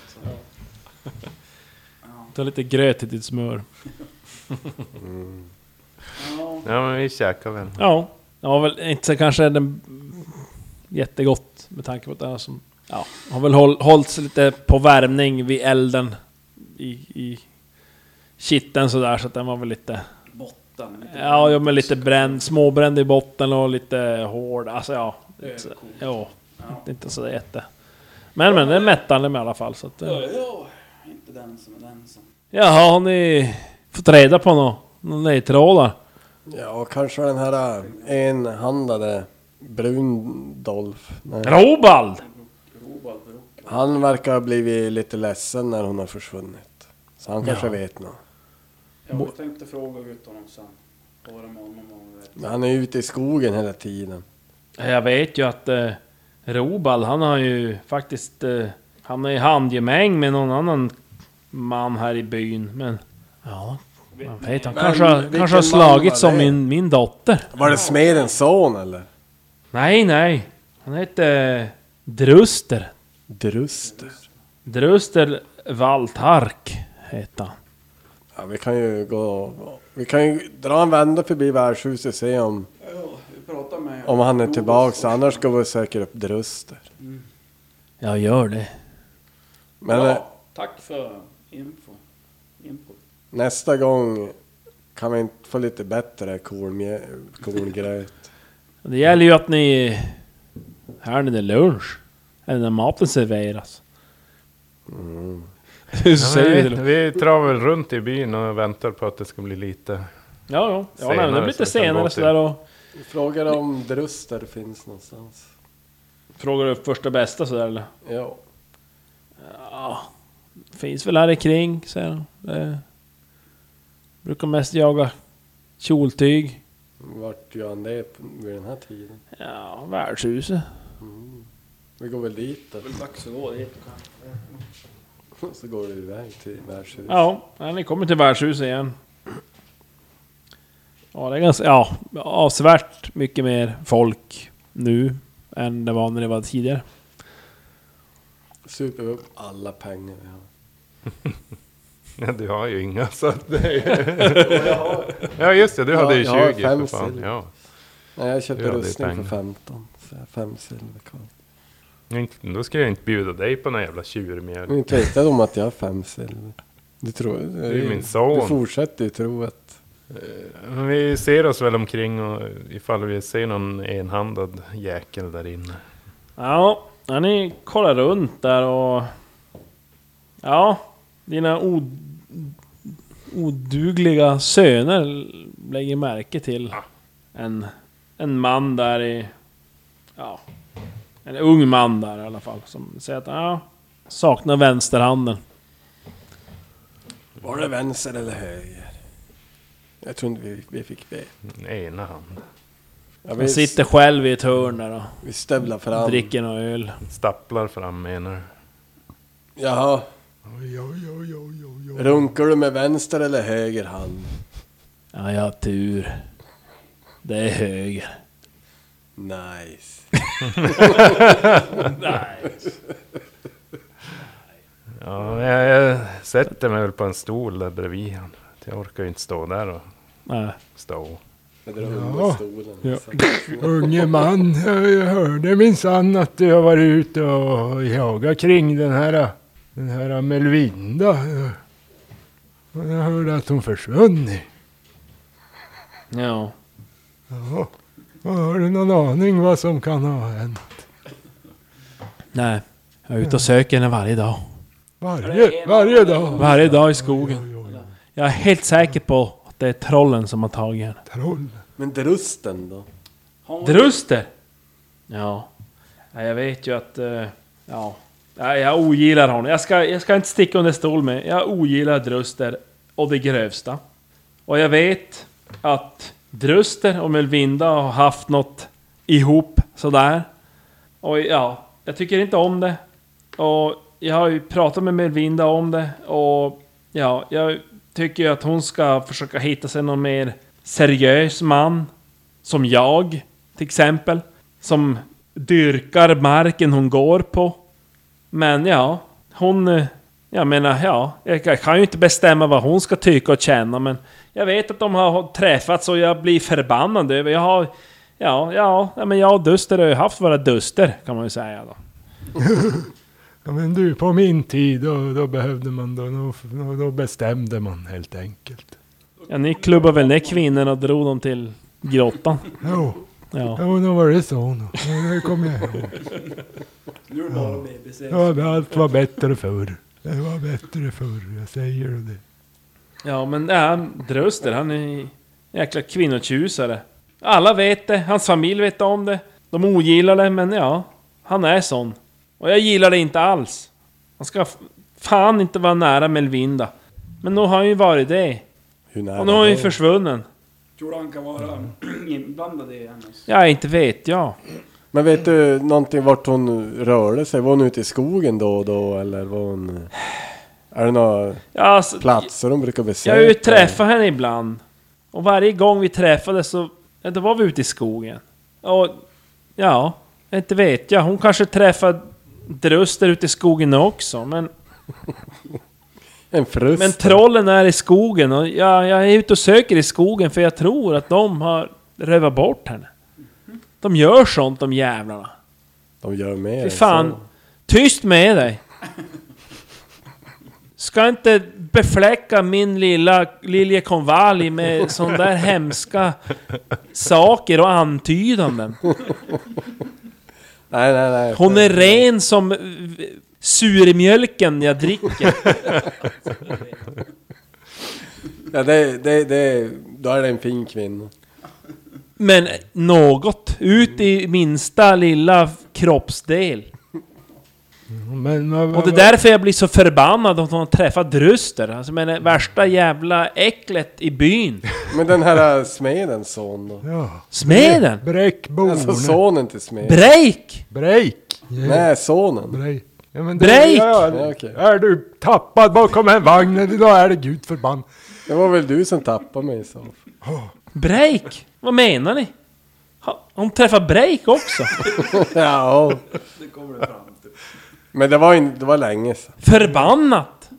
Ta lite gröt till ditt smör.
Ja.
Ja men vi käkar väl.
Ja, det var väl inte så kanske den jättegott med tanke på att det här som... Ja, har väl håll, hållt sig lite på värmning vid elden i, i kitteln sådär så att den var väl lite...
Botten. lite
Ja, ja men lite bränd, småbränd i botten och lite hård. Alltså ja. Inte,
Överkokt.
ja,
Ja.
inte så jätte... Men men, det är mättande med i alla fall så att... eh.
Ja, ja. Inte den som är den som...
Jaha, har ni fått reda på något? Några ledtrådar?
Ja, och kanske den här äh, enhandade Brundolf. Nej.
Robald!
Robald Brok.
Han verkar ha blivit lite ledsen när hon har försvunnit. Så han kanske
Ja.
vet något.
Jag tänkte fråga ut honom sen. Vad det med honom om vi vet.
Men han är ute i skogen hela tiden.
Jag vet ju att eh, Robal, han har ju faktiskt... Eh, han är i handgemäng med någon annan man här i byn, men... Ja, man vet. Han
Men
kanske, har-
vilken
kanske har
man var
slagit
det?
som min, min dotter.
Var det smedens son eller?
Nej, nej. Han heter eh, Druster.
Druster.
Druster Valtark heter han.
Ja, vi kan ju gå... Vi kan ju dra en vända förbi värdshuset och se om,
Ja, vi pratar med...
om han är
Robald
tillbaks.
först.
Annars ska vi säkra upp Druster.
Jag gör det.
Men eh,
Bra. Tack för info. Info.
nästa gång kan vi inte få lite bättre kornmjö- korngröt.
Det gäller ju att ni... Här när det är lunch. Eller när maten serveras. Hur
Ja,
säger
men
du?
vi, vi travar väl runt i byn och väntar på att det ska bli lite.
Ja, ja. ja nej, men det
Senare,
blir lite
så vi kan
senare
gå till-
sådär och...
Vi frågar om Druster finns någonstans.
Frågar du första bästa sådär eller?
Ja.
Ja. Finns väl här kring, säger han. Det... Brukar mest jaga kjoltyg.
Vart gör han det på- vid den här tiden?
Ja, värdshuset.
Vi går väl dit
Det är väl dags att gå dit och kanske.
då. Så går vi iväg till värdshuset.
Ja, ja, ni kommer till värdshuset igen. Ja, det är ganska... Ja, avsevärt mycket mer folk nu än det var när det var tidigare.
Super upp alla pengar vi har.
Ja, du har ju inga så att det
Jag har...
Ja just det, du
Ja,
hade ju
jag har
20 för
fem
fan.
silver.
Ja.
Nej, jag köpte
Du hade
rustning för
pengar.
15. Så jag har fem silver kvar.
Inte- Då ska jag inte bjuda dig på någon jävla tjurmjöl.
Mm.
Ni tvekade om att jag har fem silver. Du tror... Det
är ju min son.
Du fortsätter ju tro att...
Men Vi ser oss väl omkring och ifall vi ser någon enhandad jäkel där inne.
Ja, ja, ni kollar runt där och... Ja, dina od... odugliga söner lägger märke till en en man där i... Ja, en ung man där i alla fall. Som säger att ja, saknar vänsterhanden.
Var det vänster eller höger? Jag tror inte vi, vi fick be.
Ena hand.
Ja,
Han
vi,
sitter själv i ett hörn där
vi stövlar
och
fram.
dricker någon öl.
Stapplar fram menar du?
Jaha,
Oj, oj, oj, oj, oj, oj.
runkar du med vänster eller höger hand?
Ja, jag har tur. Det är höger.
Nice.
Ja, jag, jag sätter mig väl på en stol där bredvid han. Jag orkar ju inte stå där och
Nej.
stå.
Det drar
Ja.
under stolen.
Ja.
Så.
Unge man, jag hörde minsann att du har varit ute och jagat kring den här, den här Melvinda. Och jag hörde att hon försvunnit.
Ja.
Ja. Har du någon aning vad som kan ha hänt?
Nej. Jag är ute och söker henne varje dag.
Varje, varje dag.
Varje dag i skogen. Jag är helt säker på att det är trollen som har tagit henne.
Troll.
Men drusten då?
Har hon-
Druster! Ja. ja. Jag vet ju att... eh, Ja. ja jag ogillar honom. Jag ska, jag ska inte sticka under stol med. Jag ogillar Druster och det grövsta. Och jag vet att Druster och Melvinda har haft något ihop sådär. Och ja, jag tycker inte om det. Och jag har ju pratat med Melvinda om det och ja, jag tycker ju att hon ska försöka hitta sig någon mer seriös man. Som jag, till exempel. Som dyrkar marken hon går på. Men ja, hon... eh, Jag menar, ja. Jag kan ju inte bestämma vad hon ska tycka och känna, men... Jag vet att de har träffats och jag blir förbannad över... Jag har... Ja, ja, ja, men jag och Duster har ju haft våra duster, kan man ju säga då.
Ja, men du, på min tid då, då behövde man, då, då, då bestämde man helt enkelt.
Ja, ni klubbade väl ner kvinnorna och drog dem till grottan?
Jo,
Ja.
jo då var det så. då. Ja, Det kommer jag ihåg.
Nu är det bara bebis.
Ja, men allt var bättre förr. Det var bättre förr, jag säger det.
Ja, men ja, Dröster, han är en jäkla kvinnotjusare. Alla vet det, hans familj vet om det. De ogillar det, men ja, han är sån. Och jag gillar det inte alls. Han ska f- fan inte vara nära Melvinda. Men nu har han ju varit det.
Hur nära
Och nu har han ju
då?
försvunnen.
Tror du han kan vara inblandad i hennes...
Ja, inte vet jag.
Men vet du någonting vart hon rörde sig? Var hon ute i skogen då och då eller var hon... Är det några
Ja, alltså,
platser hon brukar besöka?
Jag har ju träffat henne ibland. Och varje gång vi träffades så... Ja, då var vi ute i skogen. Och... Ja, inte vet jag. Hon kanske träffade Druster ute i skogen också, men...
En frust.
Men trollen är i skogen och jag, jag är ute och söker i skogen för jag tror att de har rövat bort henne. De gör sånt de jävlarna.
De gör mer
Fy
än
fan.
Eh, så.
Tyst med dig! Ska inte befläcka min lilla liljekonvalj med sån där hemska saker och antydanden.
Nej, nej, nej.
Hon är ren som eh, surmjölken jag dricker.
Ja, det, det, det, då är det en fin kvinna.
Men något. Ut i minsta lilla kroppsdel.
Men, vad-
Och det är därför jag blir så förbannad att hon träffar Druster. Alltså men det värsta jävla äcklet i byn.
Men den här smedens son då?
Ja.
Smeden!
Bräckborna.
Alltså sonen till smeden?
Break!
Break.
Nej, sonen.
Break. Ja, men
Break!
Ja,
Ja, okej.
Är du tappad bakom en vagn, då är det gud förbann.
Det var väl du som tappade mig så.
Break? Vad menar ni? Ha- Hon träffar Break också?
Ja.
Det kommer det fram typ. till.
Men det var, in, det var länge sedan.
Förbannat!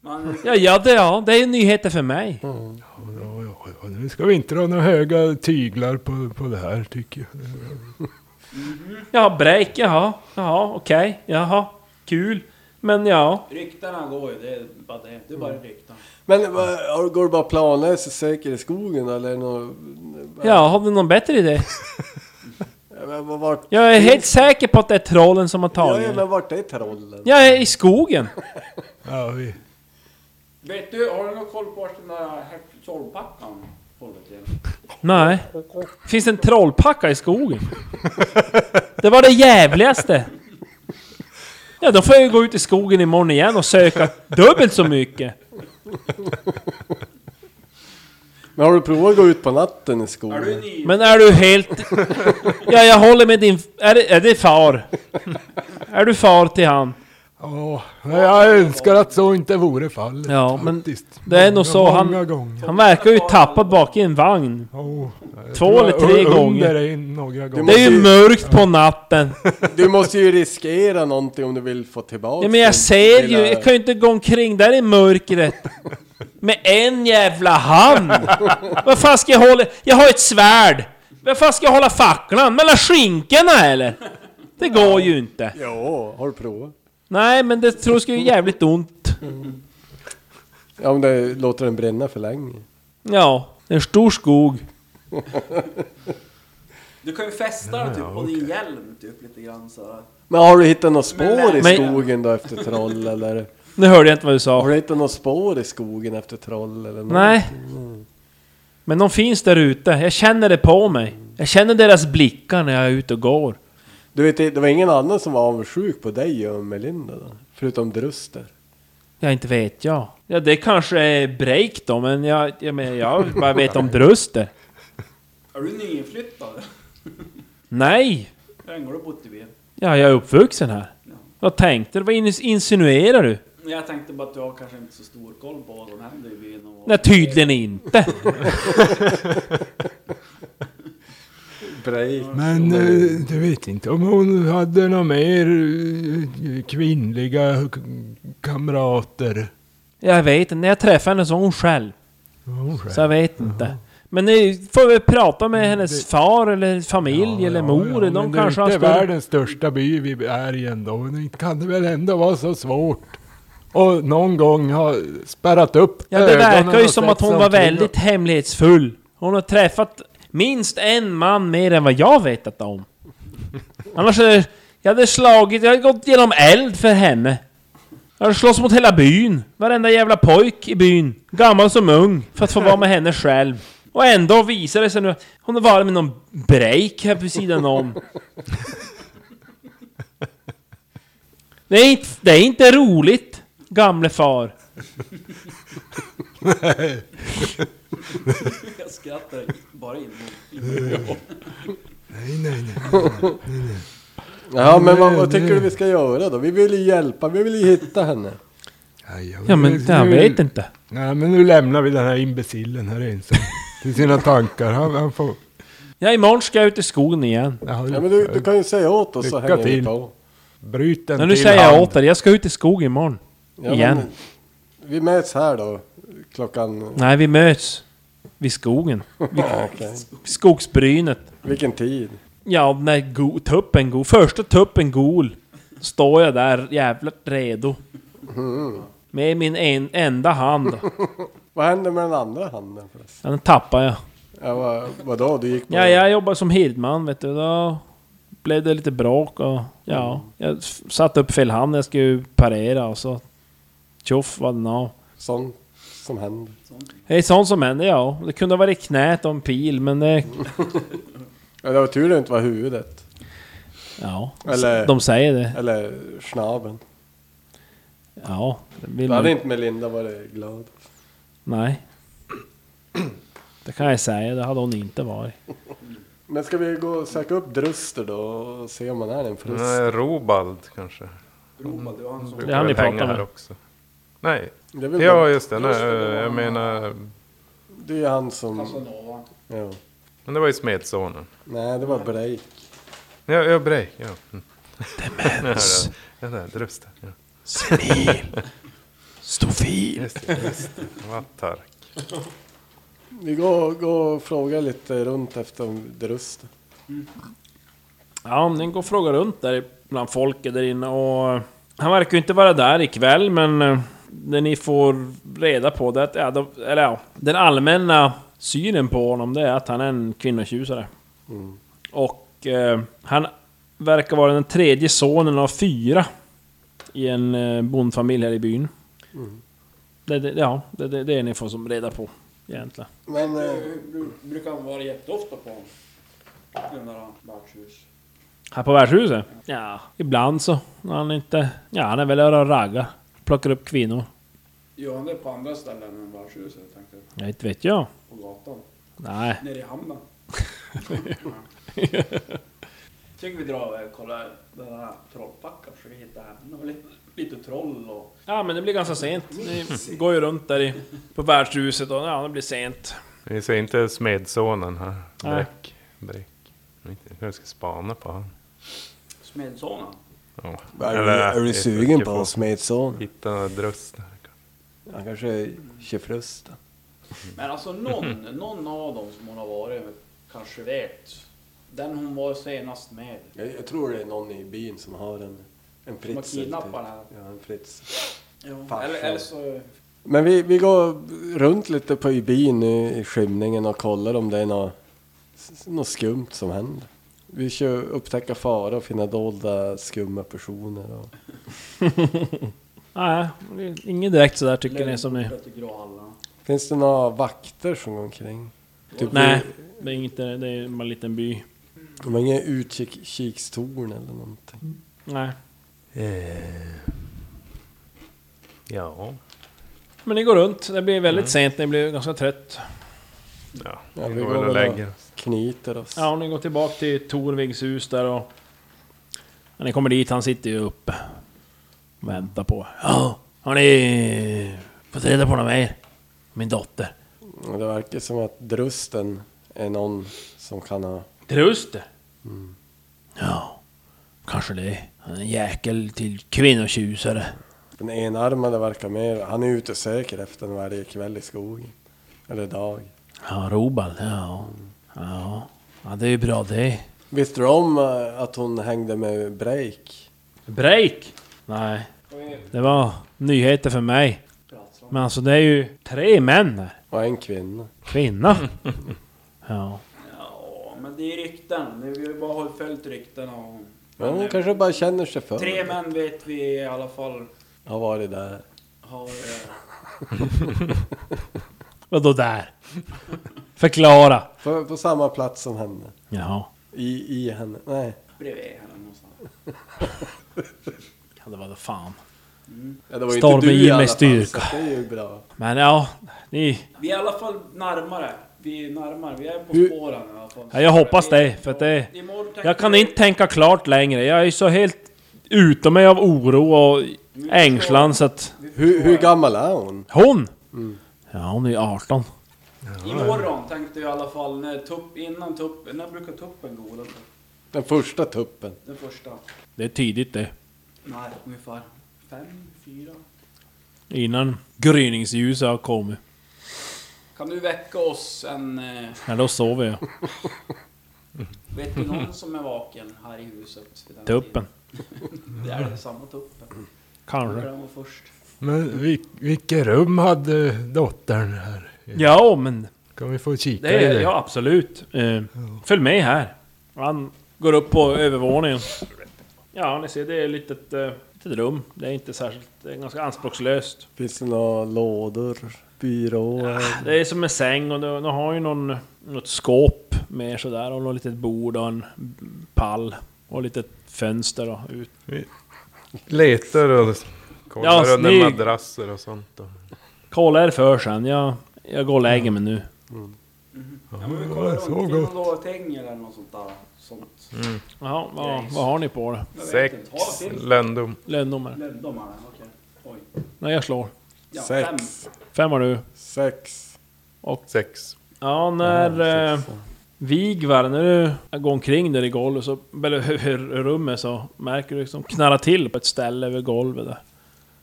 Man,
Ja, ja, det, ja, det är ju nyheter för mig.
Mm.
Ja, ja, ja, Nu ska vi inte dra några höga tyglar på, på det här tycker jag.
Ja, Break, jaha. Jaha, okej. Jaha. Kul. Men ja.
ryktena går ju, det är bara det. Det är bara rykten.
Men vad- har- går du bara planlös och söker i skogen eller är det nå-
Ja, har du någon bättre idé?
Ja, men vad- vart...
Jag är helt säker på att det är trollen som har
Ja,
tagit
ja,
henne.
men vart är trollen?
Jag är i skogen.
Ja, vi,
Vet du, har du någon koll på vart den där trollpackan håller till?
Nej. Finns det en trollpacka i skogen? Det var det jävligaste! Ja, då får jag ju gå ut i skogen imorgon igen och söka dubbelt så mycket.
Men har du provat att gå ut på natten i
Är
skogen?
du ny?
Men är du helt... Ja, jag håller med din... Är det, är det far? Är du far till han?
Ja, men jag önskar att så inte vore fallet.
Ja, men
faktiskt.
det är nog så
många,
han-
Många gånger.
Han verkar ju tappad bak i en vagn.
Oh,
Två
jag tror
eller
jag
tre
under
gånger.
en några gånger.
Det är ju mörkt på natten.
Du måste ju riskera någonting om du vill få tillbaka
Ja, men jag
din
ser ju,
lilla-
jag kan ju inte gå omkring där i mörkret. Med en jävla hand! Vad fan ska jag hålla... Jag har ett svärd! Vad fan ska jag hålla facklan? Mellan skinkorna eller? Det går ju inte.
Jo, har du provat?
Nej, men det tror jag skulle göra jävligt ont.
Ja, om det låter den brinna för länge.
Ja, en stor skog.
Du kan ju fästa den typ på din hjälm typ lite grann så. här.
Men har du hittat några spår i
Men-
skogen då efter troll eller?
Nu hörde jag inte vad du
Har
sa.
du hittat några spår i skogen efter troll eller något?
Nej. Men de finns där ute. Jag känner det på mig. Jag känner deras blickar när jag är ute och går.
Du vet, det var ingen annan som var avundsjuk på dig och Melinda då? Förutom Druster.
Ja, inte vet jag. Ja, det kanske är break då, men jag, jag, menar, jag bara vet om Druster.
Är du nyinflyttad?
Nej!
Hur länge har du bott i byn?
Ja, jag är uppvuxen här. Vad tänkte du? Vad ins- insinuerar du?
Jag tänkte bara att du har kanske inte så stor koll på vad som händer i byn och vad...
Nej, tydligen inte.
Break.
Men eh, du vet inte om hon hade några mer eh, kvinnliga k- kamrater?
Jag vet inte. När jag träffade henne så var hon själv.
Hon själv.
Så jag vet inte. Men ni får väl prata med hennes far eller familj eller mor.
men
de
det är
kanske har
inte
större...
världens största by vi är i ändå. Men Det kan det väl ändå vara så svårt? Och någon gång ha spärrat upp
Ja, det
ögonen
verkar ju
och liksom
som
sett
att hon
sig
var
omkring
väldigt hemlighetsfull. Hon har träffat minst en man mer än vad jag vetat om. Annars är jag hade slagit, jag hade gått genom eld för henne. Jag hade slåss mot hela byn. Varenda jävla pojk i byn. Gammal som ung. För att få vara med henne själv. Och ändå visar det sig nu att hon har varit med någon break här på sidan om. Det är inte, det är inte roligt, gamle far.
Jag skrattar bara in.
Nej, nej, nej.
Ja, men vad,
Nej,
vad tycker
nej.
du vi ska göra då? Vi vill ju hjälpa, vi vill ju hitta henne.
Nej, jag-
Ja men jag
nu-
vet inte.
Nej, men nu lämnar vi den här imbecillen här ensam. Till sina tankar. Han, han får...
Ja, imorgon ska jag ut i skogen igen.
Ja, men du, du kan ju säga åt oss så
Lycka
hänger vi
till.
på.
Bryt en
Men nu
till
säger jag
hand.
åt dig, jag ska ut i skogen imorgon.
Ja,
igen.
men Vi möts här då, klockan...
Nej, vi möts. Vid skogen. Vid
okej.
skogsbrynet.
Vilken tid?
Ja, när go- tuppen gol. Första tuppen gol. Står jag där jävligt redo. Med min en, enda hand.
Vad hände med den andra handen förresten?
Ja, Den tappar jag.
Ja, vad, vadå, du gick på...
Ja, jag jobbar som hirdman vet du. Då blev det lite bråk och... Ja, jag f- satte upp fel hand. Jag skulle ju parera och så... Tjoff var den av.
Sånt som händer.
Det är sånt som händer, ja. Det kunde ha varit knät och en pil, men det...
Ja, det var tur det inte var huvudet.
Ja.
Eller-
De säger det.
Eller snaben.
Ja. det Vill
Då
man...
hade
Mm.
inte Melinda varit glad.
Nej. Det kan jag säga, det hade hon inte varit.
Men ska vi gå och söka upp Druster då och se om han är en frust?
Nej, eh, Robald kanske.
Ropa, du har en sån...
Det är han ni
Brukar
pratar
väl hänga
med.
här också. Nej,
Det är väl
ja
bara-
just det. Nej,
Just det, det var
jag
han.
menar,
Det är ju han som...
Casanova.
Ja.
men det var ju smedsonen.
Nej, det var Break.
Ja, ja Brej. Ja. Demens. ja, där, Drusten. Ja.
Senil! Stofil!
Just det, just det. Vattar.
Vi går, går och frågar lite runt efter om Druster.
Ja, den går och frågar runt där bland folket där inne och... eh, Han verkar ju inte vara där ikväll, men... eh, Det ni får reda på det är att, ja, de, eller ja, den allmänna synen på honom det är att han är en kvinnotjusare. Och eh, han verkar vara den tredje sonen av fyra i en eh, bondfamilj här i byn. Det, det, ja, det, det, det är ni får som reda på. egentligen.
Men eh,
Det brukar vara jätteofta på den där värdshus.
Här på värdshuset? Ja, ibland så. När han inte... Ja, han är väl öra och raggar. Plockar upp kvinnor.
Gör han det på andra ställen än värdshuset, tänkte jag.
Ja, Inte vet jag.
På gatan.
Nej.
Nere i hamnen. Tycker vi drar över och kollar den här trollpackan, försöker hitta henne och lite, lite troll och...
Ja, men det blir ganska sent. Ni går ju runt där i, på värdshuset och ja, det blir sent.
Vi ser inte smedsonen här.
Nej.
Bräck. Bräck. Jag vet inte hur jag ska spana på honom.
Smedsonen.
Ja.
är, du,
Eller,
är du
jag
sugen
försöker
på
få-
att smedson?
Hitta drösten.
Han kanske kör frusten.
Men alltså någon, någon av dem som hon har varit med kanske vet. Den hon var senast med.
Jag, jag tror det är någon i byn som har en, en
har
fritzel.
kidnappat
typ.
den här.
Ja, en fritzel.
Ja,
Farsan.
eller, eller så...
Men vi, vi går runt lite på i byn nu i skymningen och kollar om det är något, s- något skumt som händer. Vi kör upptäcka fara och finna dolda skumma personer. Och...
Nej, det är inget direkt sådär tycker ni som ni...
Lejonkortet i Gråhallarna.
Finns det några vakter som går omkring? Typ
Nej, det är inget, det är bara en liten by.
De har inga utkikstorn eller någonting.
Nej.
Ja.
Men ni går runt, det blir väldigt sent, ni blir ganska trött.
Ja,
Ja,
vi
vi
går
går
väl och
väl
lägger oss.
Knyter oss.
Ja, och ni går tillbaka till Torvigs hus där och... När ni kommer dit, han sitter ju uppe. Och väntar på... Ja, har ni fått reda på något mer? Min dotter.
Och Det verkar som att drusten är någon som kan ha...
Truster? Ja, kanske det. Han är en jäkel till kvinnotjusare.
Den enarmade verkar mer... Han är ute och söker efter den varje kväll i skogen. Eller dag.
Ja, Robald, ja. Ja, ja det är ju bra det.
Visste du om eh, att hon hängde med Break?
Break? Nej,
Och vi
det var nyheter för mig.
pratar om-
Men alltså det är ju tre män här.
Och en kvinna.
Kvinna? Ja.
Ja, men det är rykten. Det- Vi har bara har följt ryktena. Och...
Men hon
Men, eh,
kanske bara känner sig för.
Tre män vet vi i alla fall
Har varit där.
har... eh,
Vadå där? Förklara!
På, på samma plats som henne.
Jaha.
I, i henne. Nej.
bredvid henne någonstans.
Kan det vara fan.
Ja, det var ju
Stormen
inte du i
ger
alla
mig
fall,
styrka.
så att Det är ju bra.
Men ja, ni...
Vi är i alla fall närmare. Vi är närmare. Vi är på
Hur-
spåren i alla fall.
Ja, jag hoppas det, för att det-
Imorgon tänker
Jag kan inte tänka klart längre. Jag är så helt utom mig av oro och ängslan så att...
Hur, hur gammal är hon?
Hon! Ja, hon är ju 18.
Imorgon tänkte jag i alla fall när tupp, innan tuppen... När brukar tuppen gå? Den,
Den första tuppen.
den första?
Det är tidigt det.
Nej, ungefär fem, fyra?
Innan gryningsljuset har kommit.
Kan du väcka oss en... eh,
Ja, då sover jag.
Vet du någon som är vaken här i huset? vid den
Tuppen. Mm.
tiden? Det är det samma tuppen.
Kanske.
Den var först.
Men vil, vilket rum hade dottern här?
Ja, men...
Kan vi få kika
Det
i
är,
det?
ja, absolut. Eh, följ med här. Han går upp på övervåningen. Ja, ni ser, det är ett litet, eh, litet rum. Det är inte särskilt... Det är ganska anspråkslöst.
Finns det några lådor? Byråer?
Det är som en säng och de har ju någon, något skåp med sådär och något litet bord och en pall och ett litet fönster och ut.
Letar och kollar
Ja,
under
snygg.
madrasser och sånt. Och.
Kolla er för sen, jag, jag går och lägger mig nu.
Ja, men vi
Ja,
kollar
det
runt.
är så
Finner
gott.
någon lågtäng eller något sånt där. Sånt.
Jaha, vad, vad har ni på det?
Jag vet
Sex
inte. Har finns
löndom.
Lönndom
Lönndom här, okej. Oj.
Nej, jag slår.
Ja, fem.
Sex.
Fem har du.
Sex.
Sex.
Ja, när eh,
Sex, ja.
Vigvar, när du går omkring där i golvet, så, eller i rummet, så märker du liksom knarra till på ett ställe över golvet där.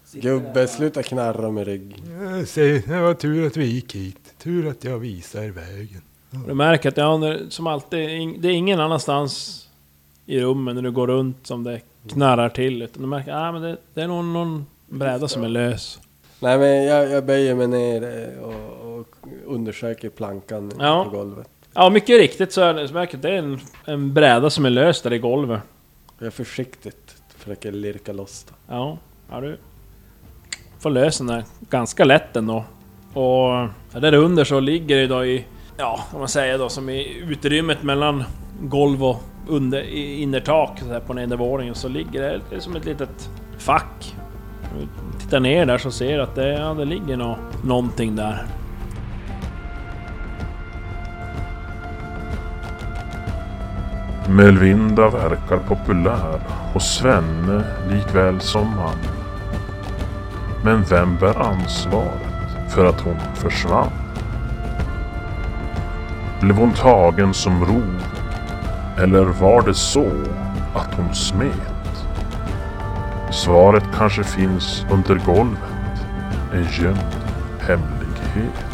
Sitter
Gubbe, sluta knarra med rygg.
Ja, se, det var tur att vi gick hit. Tur att jag visade er vägen.
Mm.
Du märker att ja, när- som alltid, ing- det är ingen annanstans i rummen när du går runt som det knarrar till. Utan du märker att ah, men det, det är någon, någon bräda som är lös.
Nej men jag, jag böjer mig ner eh, och, och undersöker plankan
Ja.
på golvet.
Ja, mycket riktigt så, är det, så märker jag att det är en, en bräda som är lös där i golvet.
Jag försiktigt försöker lirka loss det.
Ja, ja du får lös den där ganska lätt ändå. Och där under så ligger det då i, ja, om man säger då som i utrymmet mellan golv och under, i- innertak så här på nedervåningen så ligger det, det är som ett litet fack. Om vi tittar ner där så ser jag att det, ja, det ligger nå, någonting där.
Melvinda verkar populär hos Svenne likväl som han. Men vem bär ansvaret för att hon försvann? Blev hon tagen som rov? Eller var det så att hon smet? Svaret kanske finns under golvet. En gömd hemlighet.